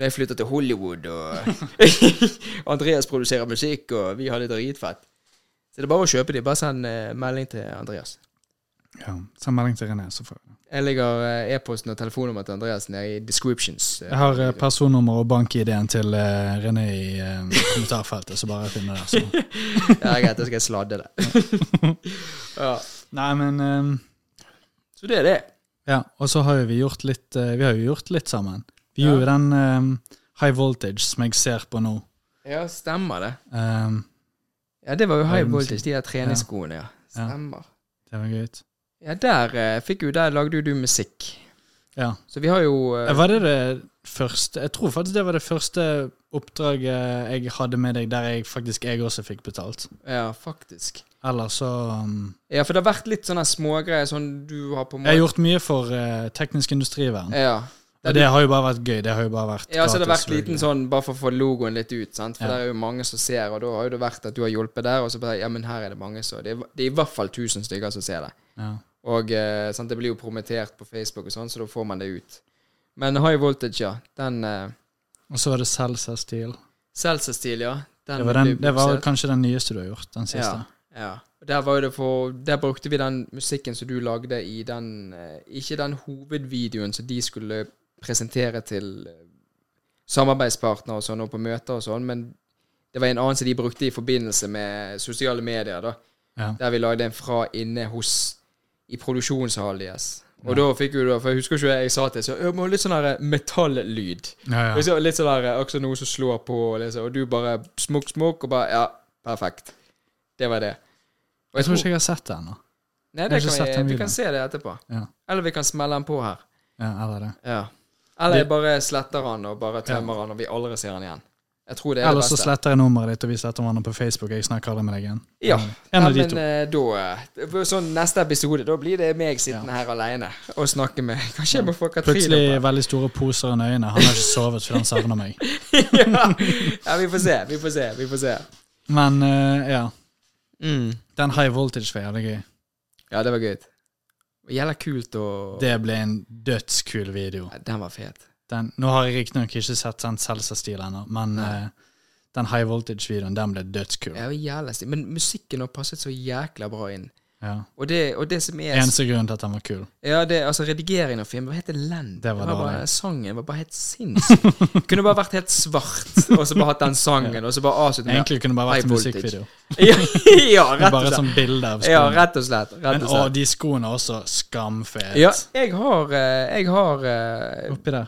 Speaker 2: når jeg flytter til Hollywood, og Andreas produserer musikk, og vi har det dritfett. Så det er bare å kjøpe de. Bare send eh, melding til Andreas.
Speaker 3: Ja. Send melding til René, så får vi det.
Speaker 2: Jeg legger eh, e-posten og telefonnummeret til Andreas nede i descriptions. eh,
Speaker 3: Jeg har eh, personnummer og bank-ID-en til eh, René i eh, kommentarfeltet, så bare sånn. finn det der. Så.
Speaker 2: Ja, greit, da skal jeg sladde det. ja.
Speaker 3: Nei, men ehm,
Speaker 2: Så det er det.
Speaker 3: Ja, og så har jo vi gjort litt eh, Vi har jo gjort litt sammen. Vi
Speaker 2: Ja.
Speaker 3: gjorde den ehm, High Voltage som jeg ser på nå.
Speaker 2: Ja, stemmer det.
Speaker 3: Ehm,
Speaker 2: Ja, det var jo high
Speaker 3: Øvelsen.
Speaker 2: voltage, de der treningsskoene, ja. Stemmer.
Speaker 3: det var gøy. ut.
Speaker 2: Ja, der eh, fikk jo Der lagde jo du musikk.
Speaker 3: Ja.
Speaker 2: Så vi har jo eh,
Speaker 3: Var det det første Jeg tror faktisk det var det første oppdraget jeg hadde med deg der jeg faktisk jeg også fikk betalt.
Speaker 2: Ja, faktisk.
Speaker 3: Eller så ehm,
Speaker 2: Ja, for det har vært litt sånne smågreier sånn du har på en
Speaker 3: Jeg har gjort mye for eh, teknisk industrivern.
Speaker 2: Ja.
Speaker 3: Og det har jo bare vært gøy. Det har jo bare vært
Speaker 2: Ja, så det har
Speaker 3: gratis,
Speaker 2: vært liten
Speaker 3: selvfølgelig.
Speaker 2: sånn bare for å få logoen litt ut, sant. For det
Speaker 3: Ja.
Speaker 2: er jo mange som ser, og da har jo det vært at du har hjulpet der, og så bare Ja, men her er det mange, så Det er, det er i hvert fall 1000 stykker som ser det.
Speaker 3: Ja.
Speaker 2: Og eh, sant, det blir jo promotert på Facebook og sånn, så da får man det ut. Men High Voltage, ja. Den eh,
Speaker 3: Og så var det Celsa Steel.
Speaker 2: Seltzer-stil, ja. Den
Speaker 3: Det var, den,
Speaker 2: ble
Speaker 3: det var
Speaker 2: produsert.
Speaker 3: kanskje den nyeste du har gjort. Den siste.
Speaker 2: Ja. ja. Og Der var jo det for Der brukte vi den musikken som du lagde i den eh, Ikke den hovedvideoen som de skulle presentere til eh, samarbeidspartnere og sånn, og på møter og sånn, men det var en annen som de brukte i forbindelse med sosiale medier, da.
Speaker 3: Ja.
Speaker 2: Der vi lagde en fra inne hos I produksjonshallen deres. Og da fikk jo da, for jeg husker ikke hva jeg sa til, så jeg må ha litt sånn her metallyd.
Speaker 3: Ja, ja.
Speaker 2: Og så Litt sånn der, også noe som slår på, liksom, og du bare smokk, smokk, og bare Ja, perfekt. Det var det. Og
Speaker 3: Jeg tror ikke jeg har sett det ennå.
Speaker 2: Nei,
Speaker 3: jeg har
Speaker 2: det
Speaker 3: ikke
Speaker 2: kan
Speaker 3: sett
Speaker 2: vi,
Speaker 3: den
Speaker 2: vi
Speaker 3: videoen.
Speaker 2: kan se det etterpå.
Speaker 3: Ja.
Speaker 2: Eller vi kan smelle den på her.
Speaker 3: Ja, eller det.
Speaker 2: Ja. Eller
Speaker 3: Vi-
Speaker 2: jeg bare sletter den, og bare tømmer den, og vi aldri ser den igjen. Jeg tror det er
Speaker 3: Eller
Speaker 2: det
Speaker 3: så
Speaker 2: beste.
Speaker 3: sletter jeg nummeret ditt, og vi sletter hverandre på Facebook. Jeg snakker aldri med deg igjen.
Speaker 2: Ja.
Speaker 3: En av
Speaker 2: Nei,
Speaker 3: de
Speaker 2: men
Speaker 3: to.
Speaker 2: eh, da eh, Sånn neste episode, da blir det meg sittende her aleine og snakke med Kanskje jeg må få Katrine
Speaker 3: Plutselig
Speaker 2: på?
Speaker 3: veldig store poser under øynene. Han har ikke sovet fordi han savner meg.
Speaker 2: ja. ja, vi får se. Vi får se. Vi får se.
Speaker 3: Men eh, ja.
Speaker 2: Mm.
Speaker 3: Den high voltage var jævlig gøy.
Speaker 2: Ja, det var gøy. Det Gjelder kult og
Speaker 3: Det ble en dødskul video.
Speaker 2: Ja, Den var fet.
Speaker 3: Den, nå har jeg riktignok ikke sett den Selsa-stil ennå, men
Speaker 2: Nei.
Speaker 3: eh, den high voltage-videoen, den ble dødskul.
Speaker 2: Jeg var jævla stil. Men musikken har passet så jækla bra inn.
Speaker 3: Ja.
Speaker 2: Og det, og det som er
Speaker 3: Eneste grunn til at den var kul.
Speaker 2: Ja, det, altså Redigeringen av filmen var helt elendig.
Speaker 3: Det var
Speaker 2: bare,
Speaker 3: dårlig.
Speaker 2: sangen var bare helt sinnssyk. Kunne bare vært helt svart, og så bare hatt den sangen, og så bare avslutte med
Speaker 3: Egentlig kunne det bare vært
Speaker 2: High
Speaker 3: en
Speaker 2: voltage.
Speaker 3: musikkvideo.
Speaker 2: ja, ja, rett og
Speaker 3: Bare et
Speaker 2: slett.
Speaker 3: sånt bilde av
Speaker 2: Ja,
Speaker 3: skoene.
Speaker 2: rett og slett. Rett
Speaker 3: Men,
Speaker 2: og
Speaker 3: å,
Speaker 2: slett.
Speaker 3: de skoene er også skamfete.
Speaker 2: Ja, jeg har eh, Jeg har eh,
Speaker 3: Oppi der.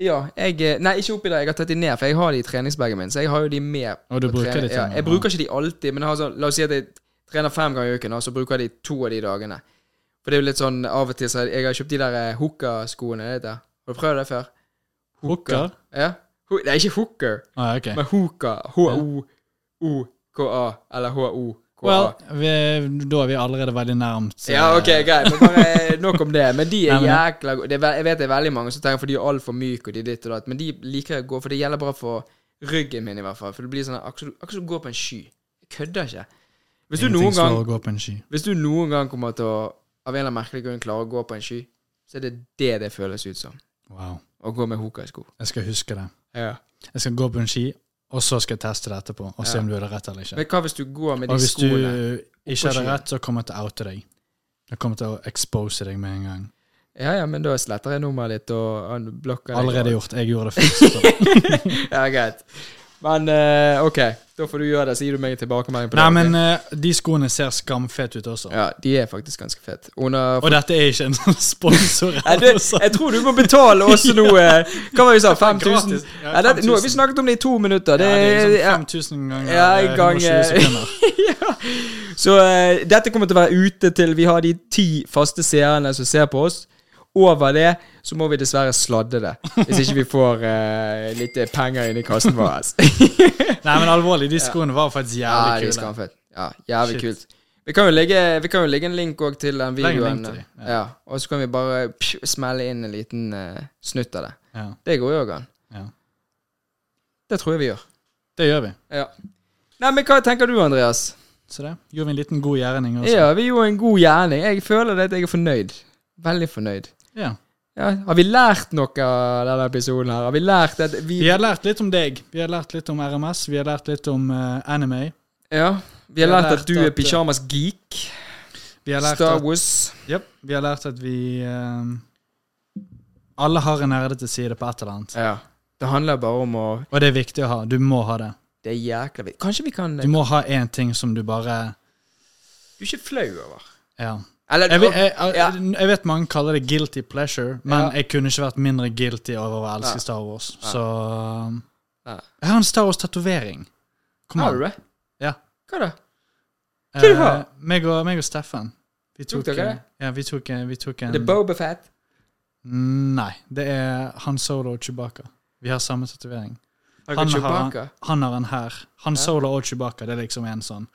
Speaker 2: Ja, jeg eh, Nei, ikke oppi der. Jeg har tatt de ned, for jeg har de i treningsbagen min. Så jeg har jo de med.
Speaker 3: Og du
Speaker 2: på
Speaker 3: bruker sånn- de til
Speaker 2: ja,
Speaker 3: noe,
Speaker 2: Jeg
Speaker 3: ja.
Speaker 2: bruker ikke de alltid, men jeg har sånn, la oss si at jeg trener fem ganger i uken, og så bruker jeg de to av de dagene. For det er jo litt sånn av og til så Jeg har kjøpt de der eh, hooker-skoene. er det det? Har du prøvd det før?
Speaker 3: Hooker?
Speaker 2: Ja. Ho- Nei, ikke hooker,
Speaker 3: Ah, ja, ok.
Speaker 2: men hooker. H-o-o-k-a. Eller h-o-k-a.
Speaker 3: Well, vi, da er vi allerede veldig nærmt. eh,
Speaker 2: Ja, ok, greit. Men bare nok om det. Men de er
Speaker 3: Nei, men-
Speaker 2: jækla gode. Det er ve- Jeg vet det er veldig mange som tenker for de er altfor myke og de ditt og datt, men de liker jeg å gå, for det gjelder bare for ryggen min i hvert fall. For det blir sånn akkurat som du- akkurat som du går på en sky. Jeg kødder ikke. Hvis du,
Speaker 3: ingenting
Speaker 2: noen gang,
Speaker 3: slår å gå på en ski.
Speaker 2: hvis du noen gang kommer til å av en eller annen merkelig grunn klare å gå på en sky, så er det det det føles ut som.
Speaker 3: Wow.
Speaker 2: Å gå med hoka-sko.
Speaker 3: Jeg skal huske det.
Speaker 2: Ja.
Speaker 3: Jeg skal gå på en ski, og så skal jeg teste det etterpå, og se
Speaker 2: Ja.
Speaker 3: om du hadde rett eller ikke.
Speaker 2: Men hva hvis du går med de
Speaker 3: Og hvis du
Speaker 2: skoene?
Speaker 3: ikke hadde
Speaker 2: skien.
Speaker 3: rett, så kommer jeg til å oute deg. Jeg kommer til å expose deg med en gang.
Speaker 2: Ja, ja, men da sletter jeg nummeret ditt og han blokker deg.
Speaker 3: Allerede gjort. Jeg gjorde det først. Så.
Speaker 2: Ja, greit. Men eh, OK, da får du gjøre det, så gir du meg en tilbakemelding på det.
Speaker 3: Nei,
Speaker 2: ok?
Speaker 3: men eh, de skoene ser skamfete ut også.
Speaker 2: Ja, de er faktisk ganske fett. Under
Speaker 3: Og dette er ikke en sånn sponsor.
Speaker 2: Nei, du, jeg tror du må betale også noe Hva var det vi sa? 5000?
Speaker 3: altså. Gratis. Ja,
Speaker 2: Nei, det- Nå har vi
Speaker 3: 5000.
Speaker 2: snakket om det i to minutter.
Speaker 3: Ja,
Speaker 2: Det,
Speaker 3: det er
Speaker 2: ja.
Speaker 3: liksom 5000 ganger
Speaker 2: Ja, i
Speaker 3: eh,
Speaker 2: gang,
Speaker 3: 120
Speaker 2: eh,
Speaker 3: sekunder.
Speaker 2: Så eh, dette kommer til å være ute til vi har de ti faste seerne som ser på oss. Over det så må vi dessverre sladde det, hvis ikke vi får eh, litt penger inn i kassen vår. ass.
Speaker 3: Nei, men alvorlig, de skoene var faktisk
Speaker 2: Ja, de
Speaker 3: jævlig
Speaker 2: er
Speaker 3: kule.
Speaker 2: skamfett. Ja, jævlig
Speaker 3: Shit.
Speaker 2: kult. Vi kan jo legge, vi kan jo legge en link også til den
Speaker 3: Legg en
Speaker 2: videoen. eh,
Speaker 3: link til de,
Speaker 2: ja. Og så kan vi bare pju, smelle inn en liten eh, snutt av det.
Speaker 3: Ja,
Speaker 2: Det går jo òg an.
Speaker 3: ja.
Speaker 2: Det tror jeg vi gjør.
Speaker 3: Det gjør vi.
Speaker 2: Ja. Nei, men hva tenker du, Andreas?
Speaker 3: Så det. Gjorde vi en liten god gjerning også.
Speaker 2: Ja, vi gjorde en god gjerning. Jeg føler det at jeg er fornøyd. Veldig fornøyd.
Speaker 3: Ja.
Speaker 2: Ja, har vi lært noe av denne episoden her? Har vi lært at vi
Speaker 3: Vi har lært litt om deg. Vi har lært litt om RMS. Vi har lært litt om eh, anime.
Speaker 2: Ja, vi har lært at du er pyjamas geek.
Speaker 3: Vi har lært
Speaker 2: Star
Speaker 3: at,
Speaker 2: Wars.
Speaker 3: Jep, vi, har lært at vi eh, Alle har en nerdete side på et eller annet.
Speaker 2: Ja. Det handler bare om å
Speaker 3: Og det er viktig å ha. Du må ha det.
Speaker 2: Det er jækla viktig. Kanskje vi kan
Speaker 3: Du må ha én ting som du bare
Speaker 2: Du er ikke flau over?
Speaker 3: Ja.
Speaker 2: Eller
Speaker 3: Jeg, vet- jeg, jeg,
Speaker 2: Ja.
Speaker 3: jeg vet mange kaller det guilty pleasure, men
Speaker 2: Ja.
Speaker 3: jeg kunne ikke vært mindre guilty over å
Speaker 2: Nei.
Speaker 3: elske Star Wars.
Speaker 2: Nei.
Speaker 3: Så
Speaker 2: Nei.
Speaker 3: Jeg har en Star Wars-tatovering. Kom
Speaker 2: Har du
Speaker 3: an.
Speaker 2: det?
Speaker 3: Ja.
Speaker 2: Hva da? Hva du
Speaker 3: Eh,
Speaker 2: har?
Speaker 3: meg, og, meg og Steffen. Vi
Speaker 2: Tok
Speaker 3: tok,
Speaker 2: dere det?
Speaker 3: eh, ja, vi tok, eh, vi tok en
Speaker 2: Det er Boba Fett.
Speaker 3: Nei, det er Han Solo og Chewbacca. Vi har samme tatovering.
Speaker 2: Har
Speaker 3: Han
Speaker 2: dere
Speaker 3: har-
Speaker 2: Chewbacca?
Speaker 3: Han har en her. Han
Speaker 2: Ja.
Speaker 3: Solo og Chewbacca, det er liksom en sånn.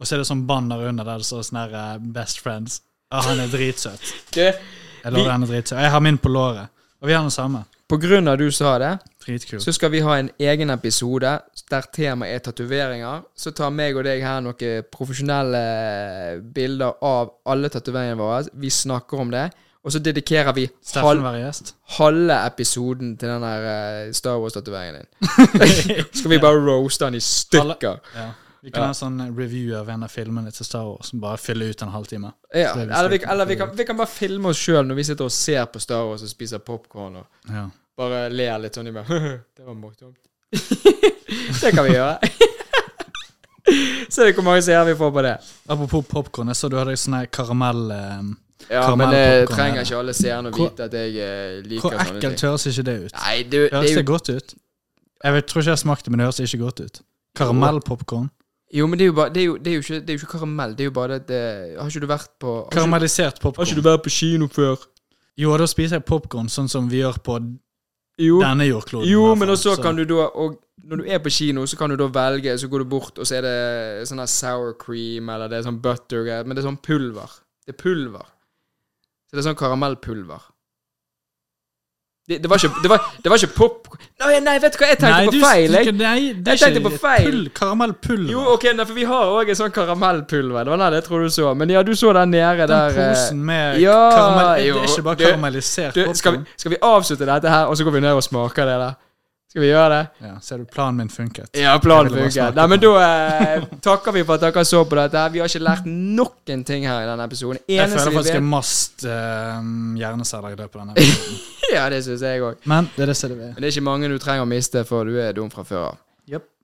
Speaker 3: Og så er det sånn banner under der det står sånn her eh, Best Friends. Ja, han er dritsøt.
Speaker 2: Det-
Speaker 3: Jeg
Speaker 2: Vi-
Speaker 3: lover han er dritsøt. Jeg har min på låret. Og vi har den samme.
Speaker 2: På grunn av du sa det,
Speaker 3: Dritkul.
Speaker 2: så skal vi ha en egen episode der temaet er tatoveringer. Så tar meg og deg her noen profesjonelle bilder av alle tatoveringene våre. Vi snakker om det. Og så dedikerer vi
Speaker 3: Steffen
Speaker 2: halv,
Speaker 3: var gjest.
Speaker 2: halve episoden til den der eh, Star Wars-tatoveringen din. Skal vi bare roaste den i stykker?
Speaker 3: Ja. Vi kan
Speaker 2: Ja.
Speaker 3: ha en sånn review av en av filmene til Star Wars som bare fyller ut en halvtime.
Speaker 2: Ja,
Speaker 3: Så er vi
Speaker 2: eller vi,
Speaker 3: stykker.
Speaker 2: eller vi, kan, vi kan bare filme oss sjøl når vi sitter og ser på Star Wars og spiser popkorn. Og
Speaker 3: Ja.
Speaker 2: bare ler litt sånn i meg. Det var morsomt. det kan vi gjøre. Se hvor mange seere vi får på det.
Speaker 3: Apropos popkorn, jeg så du hadde sånn her karamell... eh,
Speaker 2: Ja,
Speaker 3: Karamell
Speaker 2: Men det
Speaker 3: popcorn,
Speaker 2: trenger
Speaker 3: ja.
Speaker 2: ikke alle seerne å
Speaker 3: Hvor-
Speaker 2: vite at jeg eh, liker
Speaker 3: Hvor
Speaker 2: sånne ting.
Speaker 3: ekkelt høres ikke det ut?
Speaker 2: Nei, du, det
Speaker 3: Høres
Speaker 2: er
Speaker 3: det
Speaker 2: jo,
Speaker 3: godt ut? Jeg vet, tror ikke jeg smakte, men det høres ikke godt ut. Karamellpopkorn.
Speaker 2: jo, men det er jo, bare, det, er jo, det, er jo ikke, det er jo ikke karamell. Det er jo bare det at det Har ikke du vært på har ikke,
Speaker 3: Karamellisert popkorn.
Speaker 2: vært på kino før?
Speaker 3: Jo, da spiser jeg popkorn sånn som vi gjør på
Speaker 2: Jo.
Speaker 3: denne jordkloden. i
Speaker 2: Jo,
Speaker 3: hvert
Speaker 2: men
Speaker 3: fall,
Speaker 2: også kan du da og Når du er på kino, så kan du da velge, så går du bort, og så er det sånn her sour cream, eller det er sånn butter Men det er sånn pulver. Det er pulver. Så det er sånn karamellpulver. Det, det var ikke Det var, det var ikke pop... Nei, nei, vet du hva, jeg tenkte
Speaker 3: Nei,
Speaker 2: på
Speaker 3: du
Speaker 2: feil, jeg.
Speaker 3: stikker- Nei, det
Speaker 2: Jeg
Speaker 3: er
Speaker 2: tenkte
Speaker 3: ikke
Speaker 2: på feil.
Speaker 3: Pull, karamellpulver.
Speaker 2: Jo, ok, nei, for vi har òg en sånn karamellpulver. Det var den jeg tror du så. Men ja, du så den nede
Speaker 3: Den
Speaker 2: der. eh,
Speaker 3: posen med
Speaker 2: ja,
Speaker 3: karamell Det
Speaker 2: jo,
Speaker 3: er ikke bare
Speaker 2: du-
Speaker 3: karamellisert
Speaker 2: Du, skal,
Speaker 3: popkorn.
Speaker 2: vi, skal vi avslutte dette her, og så går vi ned og smaker det der? Skal vi gjøre det?
Speaker 3: Ja, ser du, planen min funket.
Speaker 2: Ja, planen
Speaker 3: Jeg ville bare
Speaker 2: funker.
Speaker 3: snakke
Speaker 2: Nei, men
Speaker 3: om
Speaker 2: da eh, takker vi for at dere så på dette. her. Vi har ikke lært noen ting her i denne episoden.
Speaker 3: Jeg føler
Speaker 2: Eneste vi
Speaker 3: faktisk jeg
Speaker 2: vet
Speaker 3: mast uh, hjerneceller i løpet av denne. episoden.
Speaker 2: Ja, det syns jeg òg.
Speaker 3: Men det er det CDV.
Speaker 2: Men det er ikke mange du trenger å miste, for du er dum fra før av.
Speaker 3: Yep.